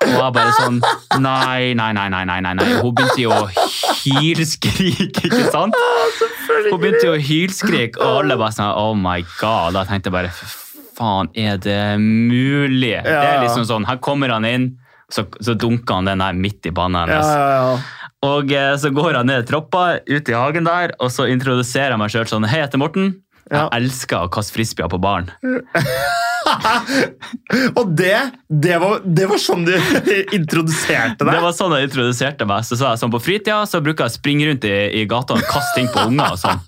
[SPEAKER 1] Og jeg bare sånn, nei, nei, nei, nei, nei, nei, nei. Hun begynte jo å hylskrike, ikke sant? Hun begynte jo å hylskrike, og alle bare sånn, oh my god. Da tenkte jeg bare, "Fy faen, er det mulig? Det er
[SPEAKER 2] ja.
[SPEAKER 1] liksom sånn, her kommer han inn, så, så dunker han den her midt i panna hennes.
[SPEAKER 2] ja,
[SPEAKER 1] Og eh, så går han ned trappa, ut i hagen der, og så introduserer jeg meg sjøl sånn. Hei, jeg heter Morten. Jeg
[SPEAKER 2] Ja.
[SPEAKER 1] elsker å kaste frisbeer på baren.
[SPEAKER 2] ja. Og det, det, var, det var sånn du introduserte
[SPEAKER 1] Det
[SPEAKER 2] deg?
[SPEAKER 1] var sånn jeg introduserte meg. Så sa jeg sånn på fritida så bruker jeg å springe rundt i, i gata og kaste ting på unger og sånn.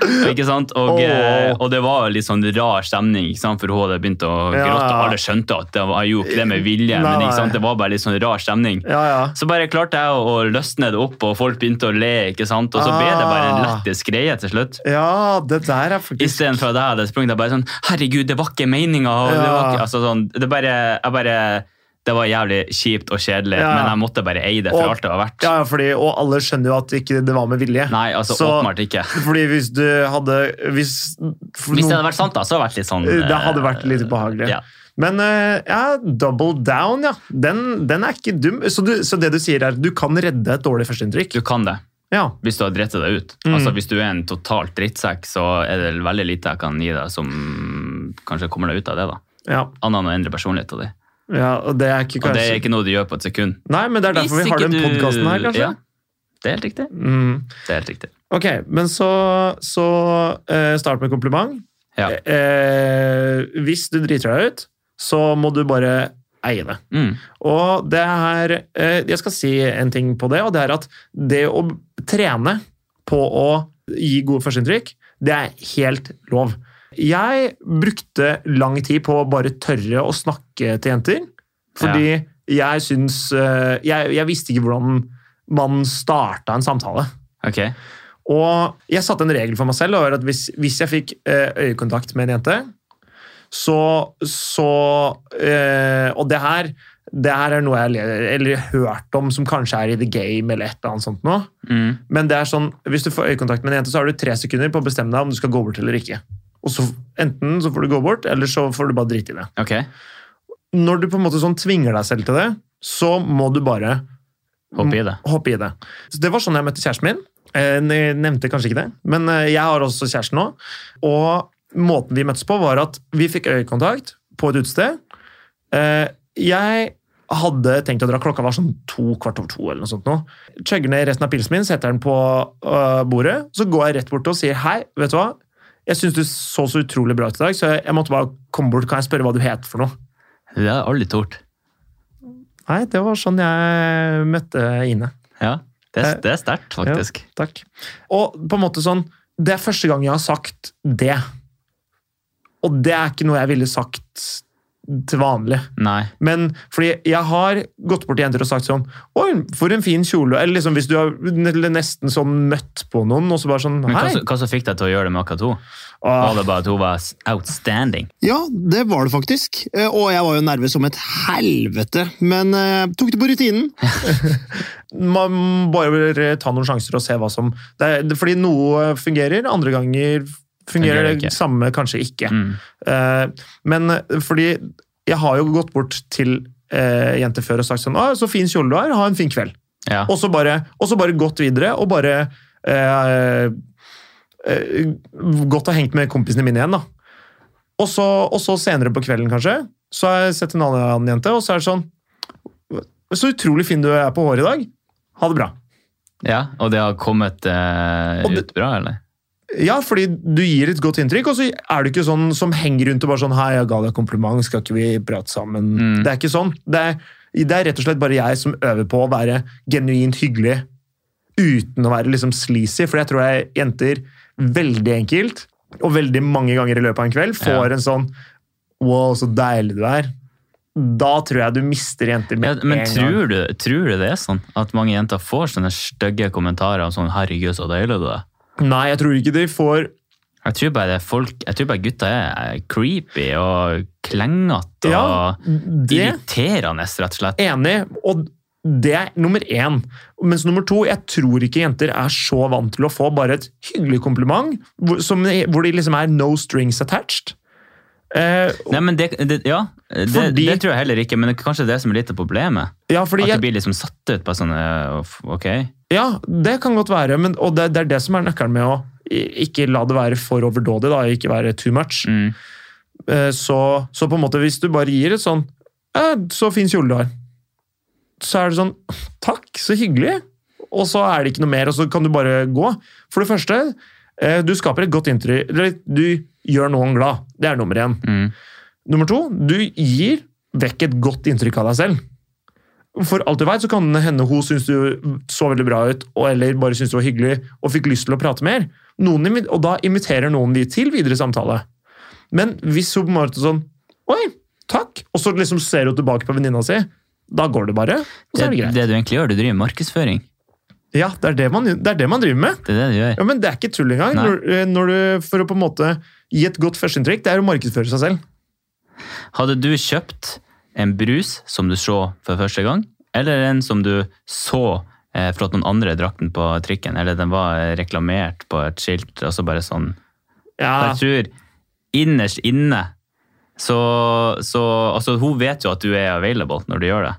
[SPEAKER 1] Ikke sant? Og,
[SPEAKER 2] Åh.
[SPEAKER 1] eh, og det var litt sånn rar stemning, ikke sant? for hun hadde begynt å
[SPEAKER 2] Ja,
[SPEAKER 1] gråte.
[SPEAKER 2] ja.
[SPEAKER 1] Alle skjønte at det var, jeg gjorde ikke det med vilje, men
[SPEAKER 2] Nei.
[SPEAKER 1] ikke sant? det var bare litt sånn rar stemning.
[SPEAKER 2] Ja, ja.
[SPEAKER 1] Så bare klarte jeg å, å løsne det opp, og folk begynte å le, ikke sant? og så ble det bare en
[SPEAKER 2] Ah.
[SPEAKER 1] lettest greie til slutt.
[SPEAKER 2] Ja, det der er faktisk
[SPEAKER 1] Istedenfor at jeg hadde sprunget, jeg bare sånn Herregud, det var ikke meninga! og Det, var
[SPEAKER 2] Ja.
[SPEAKER 1] ikke- altså sånn, det, bare, jeg bare, det var jævlig kjipt og kjedelig,
[SPEAKER 2] Ja.
[SPEAKER 1] men jeg måtte bare eie det for
[SPEAKER 2] Og-
[SPEAKER 1] alt det var verdt.
[SPEAKER 2] Ja, ja, fordi, og alle skjønner jo at ikke det var med vilje.
[SPEAKER 1] Nei, altså
[SPEAKER 2] Så-
[SPEAKER 1] åpenbart ikke.
[SPEAKER 2] Fordi hvis du hadde Hvis, for
[SPEAKER 1] Hvis det
[SPEAKER 2] noen-
[SPEAKER 1] hadde vært sant, da, så hadde det vært litt sånn
[SPEAKER 2] Det hadde
[SPEAKER 1] eh,
[SPEAKER 2] vært litt ubehagelig.
[SPEAKER 1] Ja.
[SPEAKER 2] Men eh, ja, double down, ja. Den, den er ikke dum. Så, du, så det du sier er at du kan redde et dårlig førsteinntrykk?
[SPEAKER 1] Du kan det.
[SPEAKER 2] Ja.
[SPEAKER 1] Hvis du har dritt deg ut.
[SPEAKER 2] Mm.
[SPEAKER 1] Altså, hvis du er en totalt drittsekk, så er det veldig lite jeg kan gi deg som kanskje kommer deg ut av det. da.
[SPEAKER 2] ja.
[SPEAKER 1] Annet enn å endre personligheten din.
[SPEAKER 2] ja og det er ikke
[SPEAKER 1] Og det
[SPEAKER 2] kanskje
[SPEAKER 1] er ikke noe du gjør på et sekund.
[SPEAKER 2] Nei, men det er derfor
[SPEAKER 1] Hvis
[SPEAKER 2] vi har
[SPEAKER 1] ikke
[SPEAKER 2] den
[SPEAKER 1] du-
[SPEAKER 2] podkasten her, kanskje.
[SPEAKER 1] Ja, det er helt riktig.
[SPEAKER 2] Mm.
[SPEAKER 1] Det er helt riktig.
[SPEAKER 2] Ok, men så, så eh, start med kompliment.
[SPEAKER 1] Ja.
[SPEAKER 2] Eh, hvis du driter deg ut, så må du bare eie det.
[SPEAKER 1] Mm.
[SPEAKER 2] Og det er eh, Jeg skal si en ting på det, og det er at det å trene på å gi gode førsteinntrykk, det er helt lov. Jeg brukte lang tid på å bare tørre å snakke til jenter, fordi jeg syns eh, jeg, jeg visste ikke hvordan man starta en samtale.
[SPEAKER 1] Ok.
[SPEAKER 2] Og jeg satte en regel for meg selv, og det var at hvis, hvis jeg fikk eh, øyekontakt med en jente, så, så eh, Og det her, det her er noe jeg le- eller hørt om som kanskje er i the game eller et eller annet sånt noe.
[SPEAKER 1] Mm.
[SPEAKER 2] Men det er sånn, hvis du får øyekontakt med en jente, så har du tre sekunder på å bestemme deg om du skal gå bort eller ikke. Og så Enten så får du gå bort, eller så får du bare drite i det.
[SPEAKER 1] Ok.
[SPEAKER 2] Når du på en måte sånn tvinger deg selv til det, så må du bare
[SPEAKER 1] Hopp
[SPEAKER 2] Mm.
[SPEAKER 1] i det.
[SPEAKER 2] hoppe i det. Så det var sånn jeg møtte kjæresten min. Eh, Jeg nevnte kanskje ikke det, men eh, jeg har også kjæresten nå. Og måten vi møttes på, var at vi fikk øyekontakt på et utested. Eh, Jeg hadde tenkt å dra, klokka var sånn to kvart over to eller noe sånt. nå. Chugger ned resten av pilsen min, setter den på øh, bordet. Så går jeg rett bort og sier hei, vet du hva? Jeg syns du så så utrolig bra ut i dag, så jeg måtte bare komme bort. Kan jeg spørre hva du het for noe?
[SPEAKER 1] Det er aldri tort.
[SPEAKER 2] Nei, det var sånn jeg møtte Ine.
[SPEAKER 1] Ja. Det
[SPEAKER 2] Eh,
[SPEAKER 1] er, det er sterkt, faktisk.
[SPEAKER 2] Takk. Og på en måte sånn Det er første gang jeg har sagt det. Og det er ikke noe jeg ville sagt til vanlig.
[SPEAKER 1] Nei.
[SPEAKER 2] Men fordi jeg har gått bort til jenter og sagt sånn Oi, for en fin kjole. Eller liksom hvis du har eller nesten sånn møtt på noen, og så bare sånn
[SPEAKER 1] Men hva,
[SPEAKER 2] Hei.
[SPEAKER 1] så- hva så fikk deg til å gjøre det med akkurat henne? Var
[SPEAKER 2] Ah,
[SPEAKER 1] det bare at hun var outstanding?
[SPEAKER 3] Ja, det var det faktisk. Eh, Og jeg var jo nervøs som et helvete, men eh, tok det på rutinen.
[SPEAKER 2] man må bare eh, ta noen sjanser og se hva som det er, det- Fordi noe fungerer, andre ganger fungerer
[SPEAKER 1] Fungerer
[SPEAKER 2] det
[SPEAKER 1] det ikke.
[SPEAKER 2] samme kanskje ikke.
[SPEAKER 1] Mm.
[SPEAKER 2] Eh, men fordi jeg har jo gått bort til eh, jenter før og sagt sånn «Å, 'Så fin kjole du har. Ha en fin kveld.'
[SPEAKER 1] Ja.
[SPEAKER 2] Og så bare, og så bare gått videre og bare eh, eh, Gått og hengt med kompisene mine igjen, da. Og så, og så senere på kvelden, kanskje, så har jeg sett en annen jente, og så er det sånn Så utrolig fin du er på håret i dag. Ha det bra.
[SPEAKER 1] ja. Og det har kommet eh,
[SPEAKER 2] Og det-
[SPEAKER 1] ut bra, eller?
[SPEAKER 2] Ja, fordi du gir et godt inntrykk, og så er du ikke sånn som henger rundt og bare sånn Hei, jeg ga deg kompliment, skal ikke vi prate sammen?
[SPEAKER 1] Mm.
[SPEAKER 2] Det er ikke sånn. Det er, det er rett og slett bare jeg som øver på å være genuint hyggelig uten å være liksom sleazy, for jeg tror jeg jenter veldig enkelt, og veldig mange ganger i løpet av en kveld, får
[SPEAKER 1] Ja.
[SPEAKER 2] en sånn Wow, så deilig du er. Da tror jeg du mister jenter
[SPEAKER 1] Ja,
[SPEAKER 2] med
[SPEAKER 1] men
[SPEAKER 2] en gang.
[SPEAKER 1] tror du, tror du det er sånn at mange jenter får sånne stygge kommentarer om sånn 'herregud, så deilig du er'?
[SPEAKER 2] Nei, jeg tror ikke de får
[SPEAKER 1] Jeg tror bare, det er folk, jeg tror bare gutta er creepy og klengete
[SPEAKER 2] Ja,
[SPEAKER 1] og
[SPEAKER 2] det.
[SPEAKER 1] irriterende, rett og slett.
[SPEAKER 2] Enig, og det er nummer én. Mens nummer to, jeg tror ikke jenter er så vant til å få bare et hyggelig kompliment, hvor, som, hvor de liksom er no strings attached. Eh,
[SPEAKER 1] Nei, men det, det, ja, det,
[SPEAKER 2] Fordi-
[SPEAKER 1] det tror jeg heller ikke, men det er kanskje det som er litt av problemet.
[SPEAKER 2] ja, fordi
[SPEAKER 1] At det
[SPEAKER 2] jeg,
[SPEAKER 1] blir liksom satt ut på sånne uff, Ok.
[SPEAKER 2] ja, det kan godt være, men, og det, det er det som er nøkkelen med å i- ikke la det være for overdådig, da, ikke være too much.
[SPEAKER 1] Mm.
[SPEAKER 2] Eh, så, så på en måte, hvis du bare gir et sånn eh, Så fin kjole du har. Så er det sånn Takk, så hyggelig! Og så er det ikke noe mer, og så kan du bare gå. For det første, eh, du skaper et godt inntrykk eller Du gjør noen glad. Det er nummer én.
[SPEAKER 1] Mm.
[SPEAKER 2] Nummer to, du gir vekk et godt inntrykk av deg selv. For alt du veit, så kan det hende hun syns du så veldig bra ut, og eller bare syns du var hyggelig og fikk lyst til å prate mer. Noen, imi- og da inviterer noen de til videre samtale. Men hvis hun på en måte sånn Oi, takk! Og så liksom ser hun tilbake på venninna si. Da går det bare. Og så
[SPEAKER 1] Det,
[SPEAKER 2] er det greit.
[SPEAKER 1] det du egentlig gjør, du driver med markedsføring.
[SPEAKER 2] Ja, det er det man, det er det man driver med.
[SPEAKER 1] Det er det du gjør.
[SPEAKER 2] Ja, men Det er ikke tull engang.
[SPEAKER 1] Nei.
[SPEAKER 2] Når, eh, når du, for å på en måte gi et godt førsteinntrykk, det er å markedsføre seg selv.
[SPEAKER 1] Hadde du kjøpt en brus som du så for første gang, eller en som du så eh, for at noen andre drakk den på trikken, eller den var eh, reklamert på et skilt, og så bare sånn
[SPEAKER 2] Ja,
[SPEAKER 1] Jeg tror innerst inne så, så Altså, hun vet jo at du er available når du gjør det.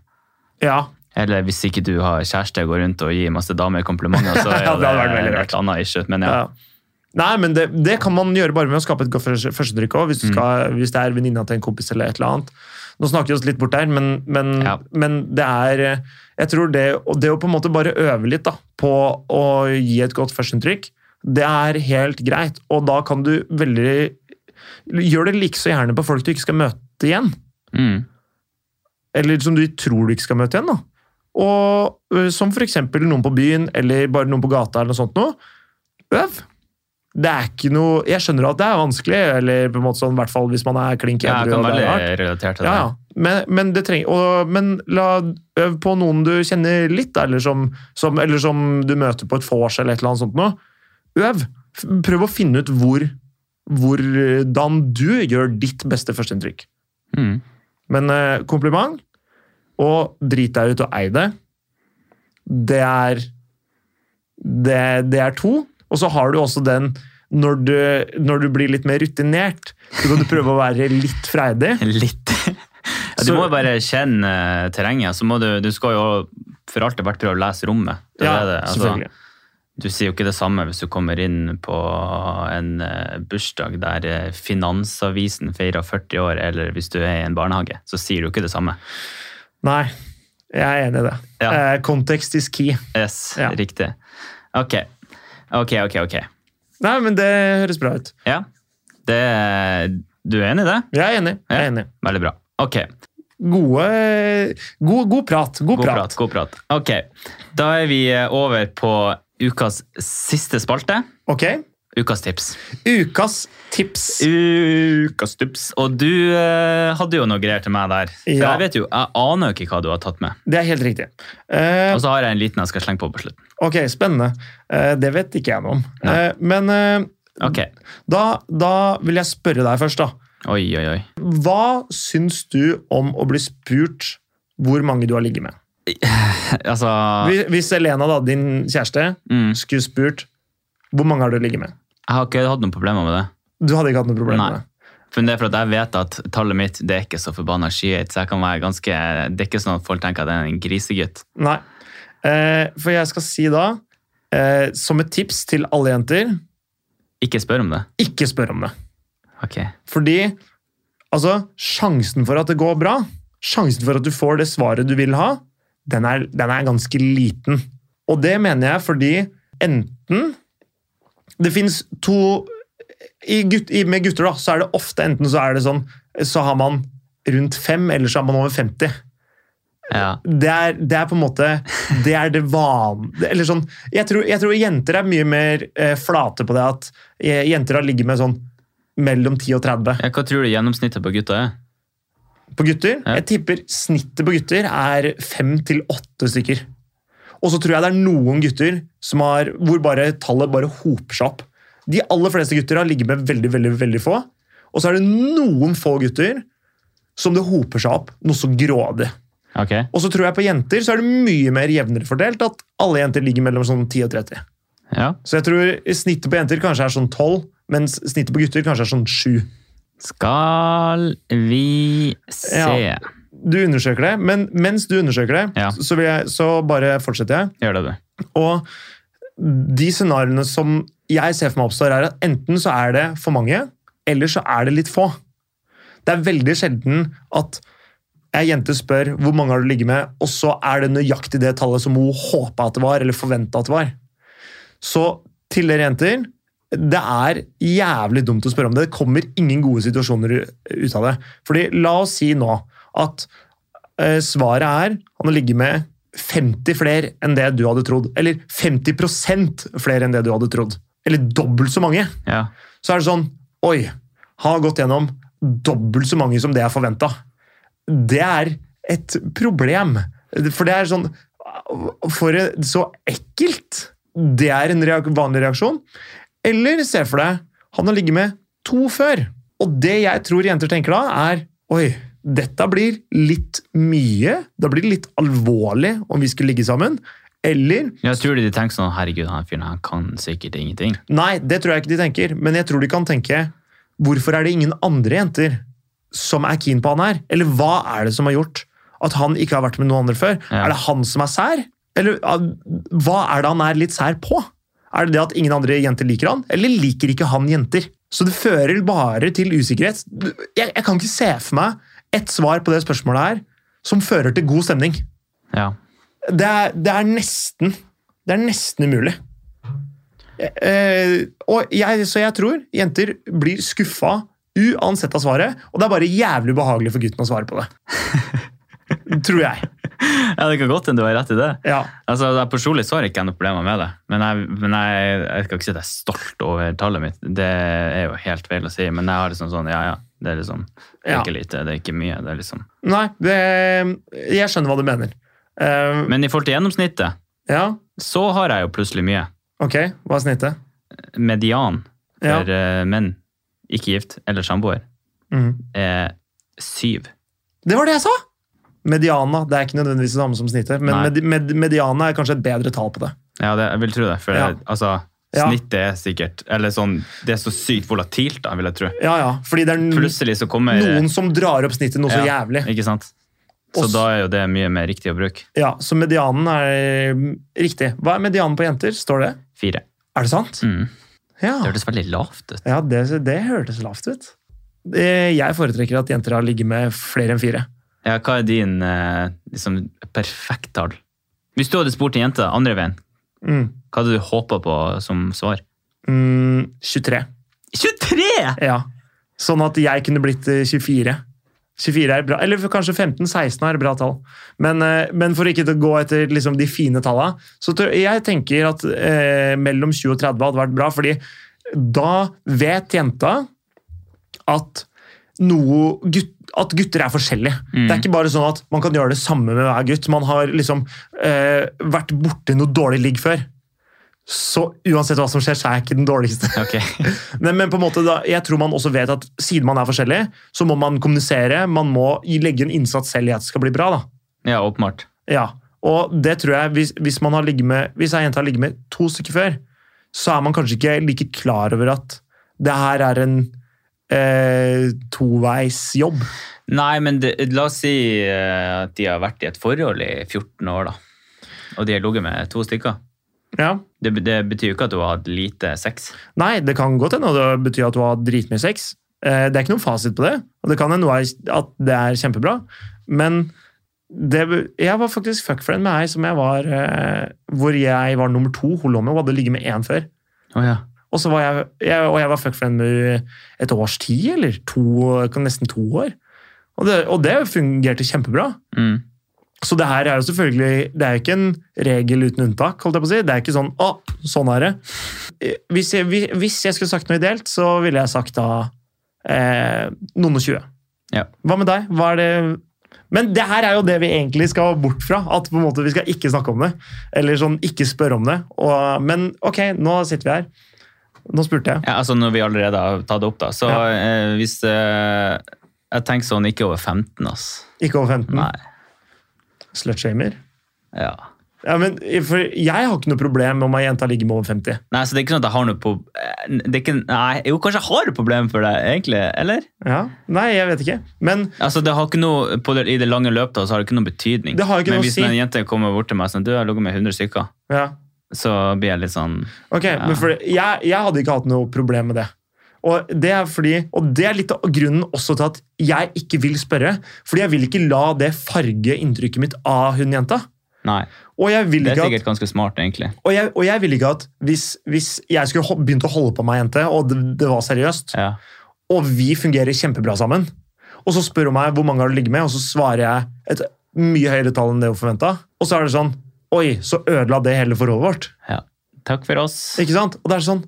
[SPEAKER 2] ja.
[SPEAKER 1] Eller hvis ikke du har kjæreste og går rundt og gir masse damer komplimenter, så er
[SPEAKER 2] Ja, det
[SPEAKER 1] det,
[SPEAKER 2] hadde vært veldig rart.
[SPEAKER 1] et annet issue. Men ja.
[SPEAKER 2] ja. Nei, men det, det kan man gjøre bare med å skape et godt første- førsteinntrykk òg, hvis, du skal- hvis det er venninna til en kompis eller et eller annet. Nå snakker vi oss litt bort der, men, men,
[SPEAKER 1] Ja.
[SPEAKER 2] men det er eh, Jeg tror det, og det å på en måte bare øve litt da, på å gi et godt førsteinntrykk, det er helt greit. Og da kan du veldig Gjør det like så gjerne på folk du ikke skal møte igjen.
[SPEAKER 1] Mm.
[SPEAKER 2] eller som du tror du ikke skal møte igjen. da. Og øh, Som f.eks. noen på byen eller bare noen på gata. eller noe sånt noe. Øv! Det er ikke noe, Jeg skjønner at det er vanskelig, eller på en måte sånn, i hvert fall hvis man er klink
[SPEAKER 1] ja, jeg
[SPEAKER 2] edru.
[SPEAKER 1] kan
[SPEAKER 2] og det er rart.
[SPEAKER 1] veldig relatere til
[SPEAKER 2] Ja,
[SPEAKER 1] det.
[SPEAKER 2] ja. Men, men, det trenger, og, men la, øv på noen du kjenner litt, da, eller som, som, eller som du møter på et vors eller et eller annet sånt noe. Øv! F- Prøv å finne ut hvor, hvordan du gjør ditt beste førsteinntrykk.
[SPEAKER 1] Mm.
[SPEAKER 2] Men eh, kompliment og drit deg ut og ei det, det er det, det er to. Og så har du også den når du, når du blir litt mer rutinert, så kan du prøve å være litt freidig.
[SPEAKER 1] Litt. Ja, du
[SPEAKER 2] Så-
[SPEAKER 1] må jo bare kjenne eh, terrenget. så må Du du skal jo for alt det er verdt prøve å lese rommet. Det er det. Altså,
[SPEAKER 2] selvfølgelig.
[SPEAKER 1] Du sier jo ikke det samme hvis du kommer inn på en eh, bursdag der eh, Finansavisen feirer 40 år, eller hvis du er i en barnehage. Så sier du ikke det samme.
[SPEAKER 2] Nei, jeg er enig i det.
[SPEAKER 1] Ja.
[SPEAKER 2] Eh, Kontekst is key.
[SPEAKER 1] Yes,
[SPEAKER 2] Ja.
[SPEAKER 1] riktig. Ok. Ok, ok, ok.
[SPEAKER 2] Nei, men det høres bra ut.
[SPEAKER 1] Ja. Det, du er enig i det?
[SPEAKER 2] Jeg er enig. Jeg
[SPEAKER 1] Ja.
[SPEAKER 2] er enig.
[SPEAKER 1] Veldig bra. Ok.
[SPEAKER 2] Gode, god, god prat.
[SPEAKER 1] God
[SPEAKER 2] God, prat.
[SPEAKER 1] prat. God prat. Ok. Da er vi eh, over på ukas siste spalte.
[SPEAKER 2] Ok.
[SPEAKER 1] Ukas tips.
[SPEAKER 2] Ukas tips.
[SPEAKER 1] Ukas tips. Og du eh, hadde jo noe greier til meg der. For
[SPEAKER 2] Ja.
[SPEAKER 1] Jeg vet jo, jeg aner jo ikke hva du har tatt med.
[SPEAKER 2] Det er helt riktig. Eh,
[SPEAKER 1] Og så har jeg en liten jeg skal slenge på på slutten.
[SPEAKER 2] Ok, spennende. Eh, Det vet ikke jeg noe om.
[SPEAKER 1] Nei.
[SPEAKER 2] Eh, Men eh,
[SPEAKER 1] Ok.
[SPEAKER 2] da, da vil jeg spørre deg først, da.
[SPEAKER 1] Oi, oi, oi.
[SPEAKER 2] Hva syns du om å bli spurt hvor mange du har ligget med?
[SPEAKER 1] Altså
[SPEAKER 2] Hvis- Hvis Elena, da, din kjæreste,
[SPEAKER 1] mm,
[SPEAKER 2] skulle spurt hvor mange har du ligget med?
[SPEAKER 1] Jeg har ikke hatt noen problemer med det.
[SPEAKER 2] Du hadde ikke hatt noe problem med
[SPEAKER 1] Nei.
[SPEAKER 2] det?
[SPEAKER 1] For det er for at jeg vet at tallet mitt det er ikke så forbanna skyhøyt. Så jeg kan være ganske, det er ikke sånn at folk tenker at jeg er en grisegutt.
[SPEAKER 2] Nei. Eh, For jeg skal si da, eh, som et tips til alle jenter,
[SPEAKER 1] Ikke spør om det.
[SPEAKER 2] ikke spør om det.
[SPEAKER 1] Ok.
[SPEAKER 2] Fordi altså, sjansen for at det går bra, sjansen for at du får det svaret du vil ha, den er, den er ganske liten. Og det mener jeg fordi enten Det fins to i gutt, i, Med gutter da, så er det ofte enten så er det sånn Så har man rundt fem, eller så er man over 50.
[SPEAKER 1] Ja.
[SPEAKER 2] Det er, det er på en måte Det er det vanlige Eller sånn jeg tror, jeg tror jenter er mye mer eh, flate på det at eh, jenter har ligget med sånn mellom 10 og 30.
[SPEAKER 1] Ja, Hva tror du gjennomsnittet på gutta er?
[SPEAKER 2] på gutter.
[SPEAKER 1] Ja.
[SPEAKER 2] Jeg tipper snittet på gutter er fem til åtte stykker. Og så tror jeg det er noen gutter som har, hvor bare tallet bare hoper seg opp. De aller fleste gutter har ligget med veldig, veldig, veldig få. Og så er det noen få gutter som det hoper seg opp noe så grådig.
[SPEAKER 1] Ok.
[SPEAKER 2] Og så tror jeg på jenter så er det mye mer jevnere fordelt at alle jenter ligger mellom sånn 10 og 30.
[SPEAKER 1] Ja.
[SPEAKER 2] Så jeg tror snittet på jenter kanskje er sånn 12, mens snittet på gutter kanskje er sånn 7.
[SPEAKER 1] Skal vi se
[SPEAKER 2] Ja. du undersøker det, men mens du undersøker det,
[SPEAKER 1] Ja.
[SPEAKER 2] så, vil jeg, så bare fortsetter jeg.
[SPEAKER 1] Gjør det, du.
[SPEAKER 2] Og de scenarioene som jeg ser for meg oppstår, er at enten så er det for mange, eller så er det litt få. Det er veldig sjelden at ei jente spør hvor mange har du ligget med, og så er det nøyaktig det tallet som hun håpa at det var, eller forventa at det var. Så til dere jenter det er jævlig dumt å spørre om det. Det kommer ingen gode situasjoner u- ut av det. Fordi la oss si nå at eh, svaret er han har ligget med 50 flere enn det du hadde trodd. Eller 50 flere enn det du hadde trodd. eller dobbelt så mange,
[SPEAKER 1] Ja.
[SPEAKER 2] så er det sånn Oi, har gått gjennom dobbelt så mange som det jeg forventa. Det er et problem. For det er sånn For et- så ekkelt! Det er en reak vanlig reaksjon. Eller se for deg han har ligget med to før. Og det jeg tror jenter tenker da, er Oi, dette blir litt mye. Det blir litt alvorlig om vi skulle ligge sammen. Eller
[SPEAKER 1] Jeg tror de tenker sånn Herregud, han fyren her kan sikkert ingenting.
[SPEAKER 2] Nei, det tror jeg ikke de tenker. Men jeg tror de kan tenke Hvorfor er det ingen andre jenter som er keen på han her? Eller hva er det som har gjort at han ikke har vært med noen andre før?
[SPEAKER 1] Ja.
[SPEAKER 2] Er det han som er sær? Eller ah, hva er det han er litt sær på? Er det det at ingen andre jenter liker han? Eller liker ikke han jenter? Så det fører bare til usikkerhet. Jeg, jeg kan ikke se for meg et svar på det spørsmålet her som fører til god stemning.
[SPEAKER 1] Ja.
[SPEAKER 2] Det er, det er nesten Det er nesten umulig. Eh, og jeg, så jeg tror jenter blir skuffa uansett av svaret, og det er bare jævlig behagelig for gutten å svare på det. tror jeg.
[SPEAKER 1] ja, det kan godt hende du har rett i det.
[SPEAKER 2] Ja.
[SPEAKER 1] Altså, jeg Personlig så har jeg ikke jeg noe problemer med det, men, jeg, men jeg, jeg skal ikke si at jeg er stolt over tallet mitt. Det er jo helt feil å si, men jeg har liksom sånn Ja, ja. Det er liksom det er
[SPEAKER 2] Ja.
[SPEAKER 1] ikke lite, det er ikke mye. det er liksom...
[SPEAKER 2] Nei, det, jeg skjønner hva du mener. Eh,
[SPEAKER 1] Men i forhold til gjennomsnittet,
[SPEAKER 2] ja,
[SPEAKER 1] så har jeg jo plutselig mye.
[SPEAKER 2] ok. Hva er snittet?
[SPEAKER 1] Median
[SPEAKER 2] Ja.
[SPEAKER 1] for eh, menn, ikke gift eller samboer,
[SPEAKER 2] Mm.
[SPEAKER 1] er syv.
[SPEAKER 2] Det var det jeg sa! Mediana. Det er ikke nødvendigvis det samme som snittet, men
[SPEAKER 1] Nei.
[SPEAKER 2] med, med, mediana er kanskje et bedre tall på det.
[SPEAKER 1] Ja, det, jeg vil tro det. For
[SPEAKER 2] Ja.
[SPEAKER 1] jeg- altså,
[SPEAKER 2] Ja.
[SPEAKER 1] snittet er sikkert Eller sånn Det er så sykt volatilt, da, vil jeg tro.
[SPEAKER 2] Ja, ja, fordi det er n-
[SPEAKER 1] Plutselig så kommer
[SPEAKER 2] Mm. noen som drar opp snittet noe så
[SPEAKER 1] Ja.
[SPEAKER 2] jævlig.
[SPEAKER 1] Ikke sant? Så
[SPEAKER 2] Også-
[SPEAKER 1] da er jo det mye mer riktig å bruke.
[SPEAKER 2] Ja, så medianen er mm, riktig. Hva er medianen på jenter? Står det?
[SPEAKER 1] Fire.
[SPEAKER 2] Er det sant?
[SPEAKER 1] Mm.
[SPEAKER 2] Ja,
[SPEAKER 1] Det hørtes veldig lavt ut.
[SPEAKER 2] ja det, det hørtes lavt ut. Det- Jeg foretrekker at jenter har ligget med flere enn fire.
[SPEAKER 1] Ja, hva er din eh, liksom, perfekt tall? Hvis du hadde spurt en jente andre veien,
[SPEAKER 2] Mm.
[SPEAKER 1] hva hadde du håpa på som svar?
[SPEAKER 2] Mm, 23.
[SPEAKER 1] 23!
[SPEAKER 2] Ja. Sånn at jeg kunne blitt eh, 24. 24 er bra, Eller for kanskje 15-16 er bra tall. Men, eh, men for ikke å gå etter liksom, de fine tallene, så tror jeg tenker at eh, mellom 20 og 30 hadde vært bra, fordi da vet jenta at noe gutt, at gutter er forskjellige.
[SPEAKER 1] Mm.
[SPEAKER 2] Det er ikke bare sånn at man kan gjøre det samme med hver gutt. Man har liksom eh, vært borti noe dårlig ligg før. Så uansett hva som skjer, så er jeg ikke den dårligste.
[SPEAKER 1] Ok.
[SPEAKER 2] Men, men på en måte da, jeg tror man også vet at siden man er forskjellig, så må man kommunisere. Man må gi- legge en innsats selv i at det skal bli bra. da.
[SPEAKER 1] Ja, åpenbart.
[SPEAKER 2] Ja, Og det tror jeg, hvis, hvis, man har ligget med, hvis ei jente har ligget med to stykker før, så er man kanskje ikke like klar over at det her er en eh, toveisjobb.
[SPEAKER 1] Nei, men det, la oss si eh, at de har vært i et forhold i 14 år, da. Og de har ligget med to stykker.
[SPEAKER 2] Ja.
[SPEAKER 1] Det, det betyr jo ikke at du har hatt lite sex.
[SPEAKER 2] Nei, det kan godt hende og det betyr at du har dritmye sex. Eh, Det er ikke noen fasit på det, og det kan hende er- at det er kjempebra. Men det, jeg var faktisk fuckfriend med ei som jeg var eh, Hvor jeg var nummer to. Hun lå med, hun hadde ligget med én før.
[SPEAKER 1] Oh, ja.
[SPEAKER 2] Og, så var jeg, jeg, og jeg var fuckfriend med et års tid, eller to, nesten to år. Og det, og det fungerte kjempebra.
[SPEAKER 1] mm.
[SPEAKER 2] Så det her er jo selvfølgelig Det er jo ikke en regel uten unntak. holdt jeg på å si. Det er ikke sånn å, sånn er det. Eh, Hvis jeg, vi- hvis jeg skulle sagt noe ideelt, så ville jeg sagt da eh, noen og tjue.
[SPEAKER 1] Ja.
[SPEAKER 2] Hva med deg? Hva er det Men det her er jo det vi egentlig skal bort fra. At på en måte vi skal ikke snakke om det. Eller sånn ikke spørre om det. Og, men ok, nå sitter vi her. Nå spurte jeg.
[SPEAKER 1] Ja, altså Når vi allerede har tatt det opp, da. Så
[SPEAKER 2] Ja.
[SPEAKER 1] eh, hvis eh, Jeg tenker sånn ikke over 15, ass.
[SPEAKER 2] Ikke over 15.
[SPEAKER 1] Nei.
[SPEAKER 2] Slutshamer.
[SPEAKER 1] Ja.
[SPEAKER 2] Ja, men, for jeg har ikke noe problem om ei jente ligger med over 50.
[SPEAKER 1] Nei, så det er ikke sånn at jeg har noe på det er ikke, Nei, jo, kanskje jeg har et problem for det, egentlig? Eller?
[SPEAKER 2] Ja. Nei, jeg vet ikke. Men
[SPEAKER 1] Altså, det har ikke noe, på det, I det lange løpet da, så har det ikke noen betydning.
[SPEAKER 2] Det har ikke
[SPEAKER 1] Men
[SPEAKER 2] noe å
[SPEAKER 1] hvis
[SPEAKER 2] si.
[SPEAKER 1] en jente kommer bort til meg og sier du jeg har ligget med 100 stykker,
[SPEAKER 2] ja.
[SPEAKER 1] så blir jeg litt sånn
[SPEAKER 2] Ok, men for, jeg, jeg hadde ikke hatt noe problem med det. Og det, er fordi, og det er litt av grunnen også til at jeg ikke vil spørre. Fordi jeg vil ikke la det farge inntrykket mitt av hun jenta.
[SPEAKER 1] Nei.
[SPEAKER 2] Og jeg vil
[SPEAKER 1] Det er
[SPEAKER 2] ikke at,
[SPEAKER 1] sikkert ganske smart, egentlig.
[SPEAKER 2] og jeg, og jeg vil ikke at hvis, hvis jeg skulle ho- begynt å holde på med ei jente, og det, det var seriøst,
[SPEAKER 1] Ja.
[SPEAKER 2] og vi fungerer kjempebra sammen, og så spør hun meg hvor mange har du ligget med, og så svarer jeg et mye høyere tall enn det hun forventa, og så er det sånn Oi, så ødela det hele forholdet vårt.
[SPEAKER 1] Takk for oss.
[SPEAKER 2] Ikke sant? Og det er sånn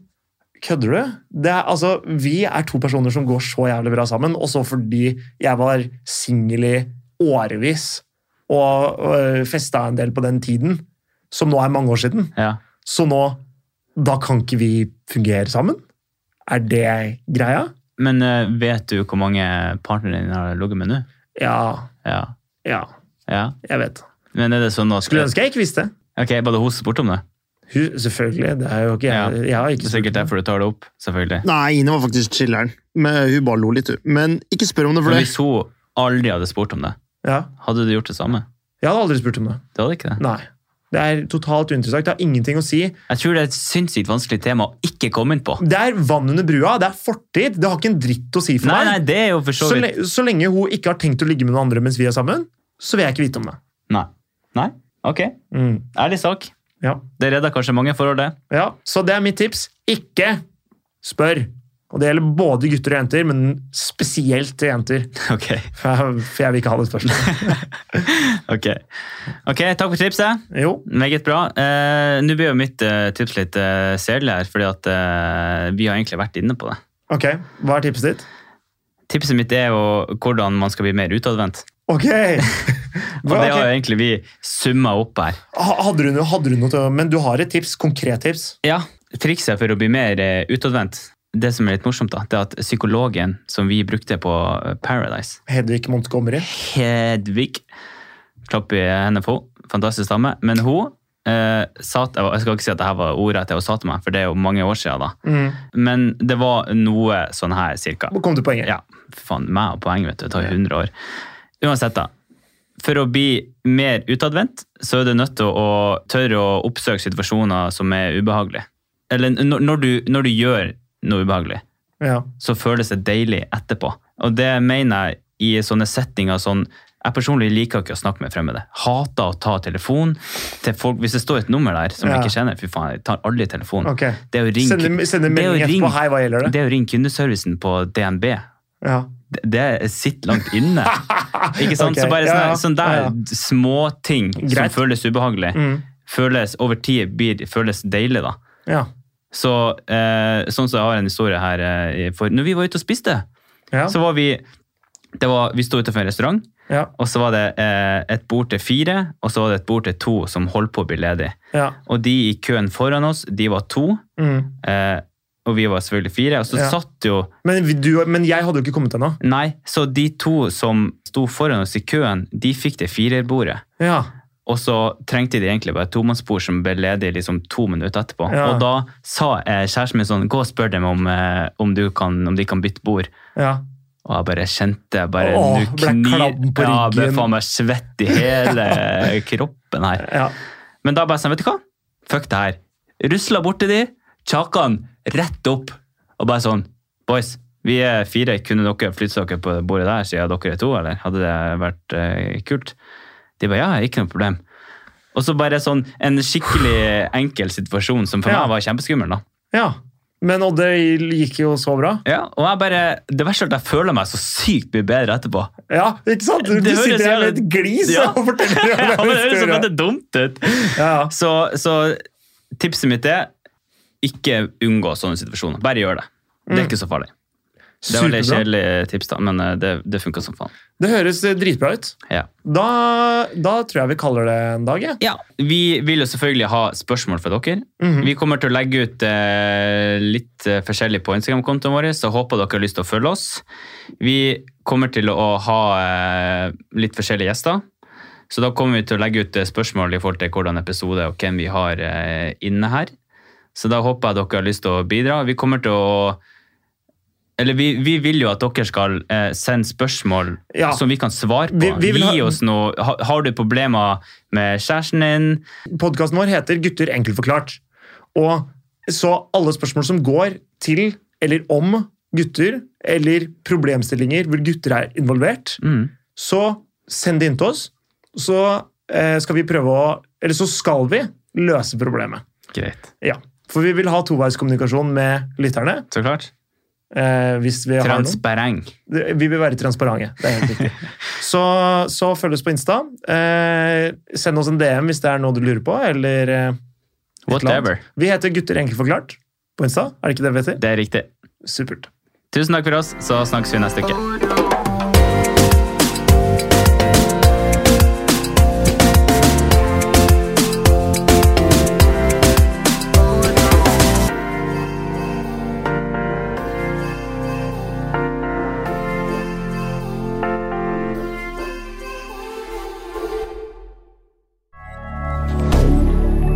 [SPEAKER 2] Kødder du? Det er, altså, vi er to personer som går så jævlig bra sammen, og så fordi jeg var singel i årevis og øh, festa en del på den tiden, som nå er mange år siden,
[SPEAKER 1] Ja.
[SPEAKER 2] så nå Da kan ikke vi fungere sammen? Er det greia?
[SPEAKER 1] Men eh, vet du hvor mange partnere dine har ligget med nå?
[SPEAKER 2] Ja.
[SPEAKER 1] Ja.
[SPEAKER 2] Ja.
[SPEAKER 1] ja.
[SPEAKER 2] Jeg vet.
[SPEAKER 1] Men er det sånn nå
[SPEAKER 2] Skulle ønske jeg ikke visste.
[SPEAKER 1] Ok, Var det hun som spurte om det?
[SPEAKER 2] Hun, selvfølgelig. Det er jo ikke jeg. jeg har
[SPEAKER 1] Det
[SPEAKER 2] ikke
[SPEAKER 1] er sikkert derfor du tar det opp. selvfølgelig.
[SPEAKER 3] Nei, Ine var faktisk chiller'n. Men Hun bare lo litt, hun. Men ikke spør om det, for
[SPEAKER 1] Men
[SPEAKER 3] det
[SPEAKER 1] hvis hun aldri hadde spurt om det,
[SPEAKER 2] Ja.
[SPEAKER 1] hadde du gjort det samme?
[SPEAKER 2] Jeg hadde aldri spurt om det.
[SPEAKER 1] Det hadde ikke det.
[SPEAKER 2] Nei. Det er totalt uinteressant. Det har ingenting å si.
[SPEAKER 1] Jeg tror det er et sinnssykt vanskelig tema å ikke komme inn på.
[SPEAKER 2] Det er vann under brua, det er fortid. Det har ikke en dritt å si for
[SPEAKER 1] Nei, nei,
[SPEAKER 2] meg.
[SPEAKER 1] det er jo for
[SPEAKER 2] så,
[SPEAKER 1] så vidt
[SPEAKER 2] le så lenge hun ikke har tenkt å ligge med noen andre mens vi er sammen, så vil jeg ikke vite om det.
[SPEAKER 1] Nei. Nei? Ok.
[SPEAKER 2] Mm.
[SPEAKER 1] Ærlig sak.
[SPEAKER 2] Ja.
[SPEAKER 1] Det redda kanskje mange forhold, det.
[SPEAKER 2] ja, Så det er mitt tips. Ikke spør. Og det gjelder både gutter og jenter, men spesielt til jenter.
[SPEAKER 1] Ok.
[SPEAKER 2] For jeg, for jeg vil ikke ha det spørsmålet.
[SPEAKER 1] Ok, Ok, takk for tipset.
[SPEAKER 2] Jo.
[SPEAKER 1] Meget bra. Eh, Nå blir jo mitt eh, tips litt eh, sedelig her, fordi at eh, vi har egentlig vært inne på det.
[SPEAKER 2] Ok, hva er tipset ditt?
[SPEAKER 1] Tipset mitt er jo hvordan man skal bli mer utadvendt.
[SPEAKER 2] Ok!
[SPEAKER 1] Og
[SPEAKER 2] Hva,
[SPEAKER 1] det har
[SPEAKER 2] ok.
[SPEAKER 1] jo egentlig vi summa opp her.
[SPEAKER 2] Ha- Hadde, du noe, hadde du noe til Men du har et tips, konkret tips.
[SPEAKER 1] Ja, Trikset for å bli mer eh, utadvendt, det som er litt morsomt, da, det er at psykologen som vi brukte på eh, Paradise
[SPEAKER 2] Hedvig Montgomery.
[SPEAKER 1] Hedvig. Klapp i hendene på henne. Fantastisk dame. Men hun eh, sa til Jeg skal ikke si at dette var ordet til hun sa til meg, for det er jo mange år siden. da.
[SPEAKER 2] Mm.
[SPEAKER 1] Men det var noe sånn her, cirka.
[SPEAKER 2] Kom til poenget.
[SPEAKER 1] Ja, fy faen, meg og poeng, vet du. Det tar jo 100 år. Uansett, da. For å bli mer utadvendt, så er du nødt til å tørre å oppsøke situasjoner som er ubehagelige. Eller når- når du, når du gjør noe ubehagelig,
[SPEAKER 2] Ja.
[SPEAKER 1] så føles det deilig etterpå. Og det mener jeg i sånne settinger sånn jeg personlig liker ikke å snakke med fremmede. Hater å ta telefon til folk. Hvis det står et nummer der som jeg
[SPEAKER 2] Ja.
[SPEAKER 1] ikke kjenner, fy faen, jeg tar aldri telefonen.
[SPEAKER 2] Ok.
[SPEAKER 1] Det er å ringe,
[SPEAKER 2] Sende, sende
[SPEAKER 1] det er å
[SPEAKER 2] melding
[SPEAKER 1] ringe-
[SPEAKER 2] etterpå. Hei, hva gjelder det?
[SPEAKER 1] det er å ringe kundeservicen på DNB
[SPEAKER 2] Ja.
[SPEAKER 1] det- det sitter langt inne. Ikke sant?
[SPEAKER 2] Ok,
[SPEAKER 1] Så bare
[SPEAKER 2] ja,
[SPEAKER 1] sånne,
[SPEAKER 2] ja,
[SPEAKER 1] sånne der
[SPEAKER 2] ja, ja.
[SPEAKER 1] småting som
[SPEAKER 2] Greit.
[SPEAKER 1] føles ubehagelig,
[SPEAKER 2] Mm.
[SPEAKER 1] føles over tid blir, føles deilig, da.
[SPEAKER 2] Ja.
[SPEAKER 1] Så, eh, sånn som jeg har en historie her eh, for, Når vi var ute og spiste,
[SPEAKER 2] Ja.
[SPEAKER 1] så var vi det var, Vi sto utenfor en restaurant,
[SPEAKER 2] ja.
[SPEAKER 1] og så var det eh, et bord til fire, og så var det et bord til to som holdt på å bli ledig.
[SPEAKER 2] ja.
[SPEAKER 1] Og de i køen foran oss, de var to,
[SPEAKER 2] Mm.
[SPEAKER 1] eh, og vi var selvfølgelig fire. Og så
[SPEAKER 2] Ja.
[SPEAKER 1] satt jo
[SPEAKER 2] Men, vi- du, men jeg hadde jo ikke kommet ennå.
[SPEAKER 1] Nei, så de to som sto foran oss i køen, de fikk det firerbordet.
[SPEAKER 2] Ja.
[SPEAKER 1] Og så trengte de egentlig bare et tomannsbord som ble ledig liksom to minutter etterpå.
[SPEAKER 2] Ja.
[SPEAKER 1] Og da sa eh, kjæresten min sånn, gå og spør dem om, eh, om, du kan, om de kan bytte bord.
[SPEAKER 2] ja.
[SPEAKER 1] Og jeg bare kjente jeg bare
[SPEAKER 2] Åh,
[SPEAKER 1] nå
[SPEAKER 2] ble
[SPEAKER 1] kni-
[SPEAKER 2] klam på
[SPEAKER 1] Ja, ble
[SPEAKER 2] ryggen.
[SPEAKER 1] faen meg svett i hele kroppen her.
[SPEAKER 2] ja.
[SPEAKER 1] Men da bare sånn, vet du hva? Fuck det her. Rusla bort til de, tjakka han rett opp, og bare sånn, boys, vi er fire, kunne dere flytte dere på bordet der, siden dere er to, eller? Hadde det vært eh, kult? De bare, ja, ikke noe problem. Og så bare sånn, en skikkelig enkel situasjon, som for
[SPEAKER 2] Ja.
[SPEAKER 1] meg var kjempeskummel da.
[SPEAKER 2] ja. Men og det gikk jo så bra.
[SPEAKER 1] Ja, og jeg bare, det verste er at jeg føler meg så sykt mye bedre etterpå.
[SPEAKER 2] Ja, ikke sant? Du,
[SPEAKER 1] Det høres
[SPEAKER 2] sitter her med et
[SPEAKER 1] jævlig-
[SPEAKER 2] glis
[SPEAKER 1] Ja.
[SPEAKER 2] og forteller
[SPEAKER 1] Ja,
[SPEAKER 2] om
[SPEAKER 1] men det
[SPEAKER 2] den
[SPEAKER 1] høres så
[SPEAKER 2] historien.
[SPEAKER 1] veldig dumt ut.
[SPEAKER 2] Ja, ja.
[SPEAKER 1] Så, så tipset mitt er ikke unngå sånne situasjoner. Bare gjør det. Det er ikke så farlig. Det var litt
[SPEAKER 2] Superbra.
[SPEAKER 1] kjedelig tips, da, men eh, det, det funka som faen.
[SPEAKER 2] Det høres eh, dritbra ut.
[SPEAKER 1] Ja.
[SPEAKER 2] Da, da tror jeg vi kaller det en dag, jeg.
[SPEAKER 1] Vi vil jo selvfølgelig ha spørsmål fra dere.
[SPEAKER 2] Mhm.
[SPEAKER 1] Vi kommer til å legge ut eh, litt eh, forskjellig på Instagram-kontoen vår, så håper dere har lyst til å følge oss. Vi kommer til å ha eh, litt forskjellige gjester. Så da kommer vi til å legge ut eh, spørsmål i forhold til hvordan episode og hvem vi har eh, inne her. Så da håper jeg dere har lyst til å bidra. Vi kommer til å Eller vi, vi vil jo at dere skal eh, sende spørsmål
[SPEAKER 2] Ja.
[SPEAKER 1] som vi kan svare på.
[SPEAKER 2] Vi- vi vil
[SPEAKER 1] Gi
[SPEAKER 2] ha-
[SPEAKER 1] oss noe ha, Har du problemer med kjæresten din?
[SPEAKER 2] Podkasten vår heter Gutter enkelt forklart. Og så alle spørsmål som går til eller om gutter, eller problemstillinger hvor gutter er involvert,
[SPEAKER 1] Mm.
[SPEAKER 2] så send det inn til oss. Så eh, skal vi prøve å Eller så skal vi løse problemet.
[SPEAKER 1] Greit.
[SPEAKER 2] Ja. For vi vil ha toveiskommunikasjon med lytterne.
[SPEAKER 1] Så klart.
[SPEAKER 2] Eh, hvis vi, har noen.
[SPEAKER 1] Transparent.
[SPEAKER 2] vi vil være transparente. Det er helt riktig. så, så følg oss på Insta. Eh, send oss en DM hvis det er noe du lurer på, eller eh, et eller annet.
[SPEAKER 1] Whatever.
[SPEAKER 2] Vi heter Gutter enkelt forklart. på Insta. Er det ikke det vi heter?
[SPEAKER 1] Det er riktig.
[SPEAKER 2] Supert.
[SPEAKER 1] Tusen takk for oss, så snakkes vi neste uke.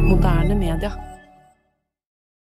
[SPEAKER 4] Moderne media.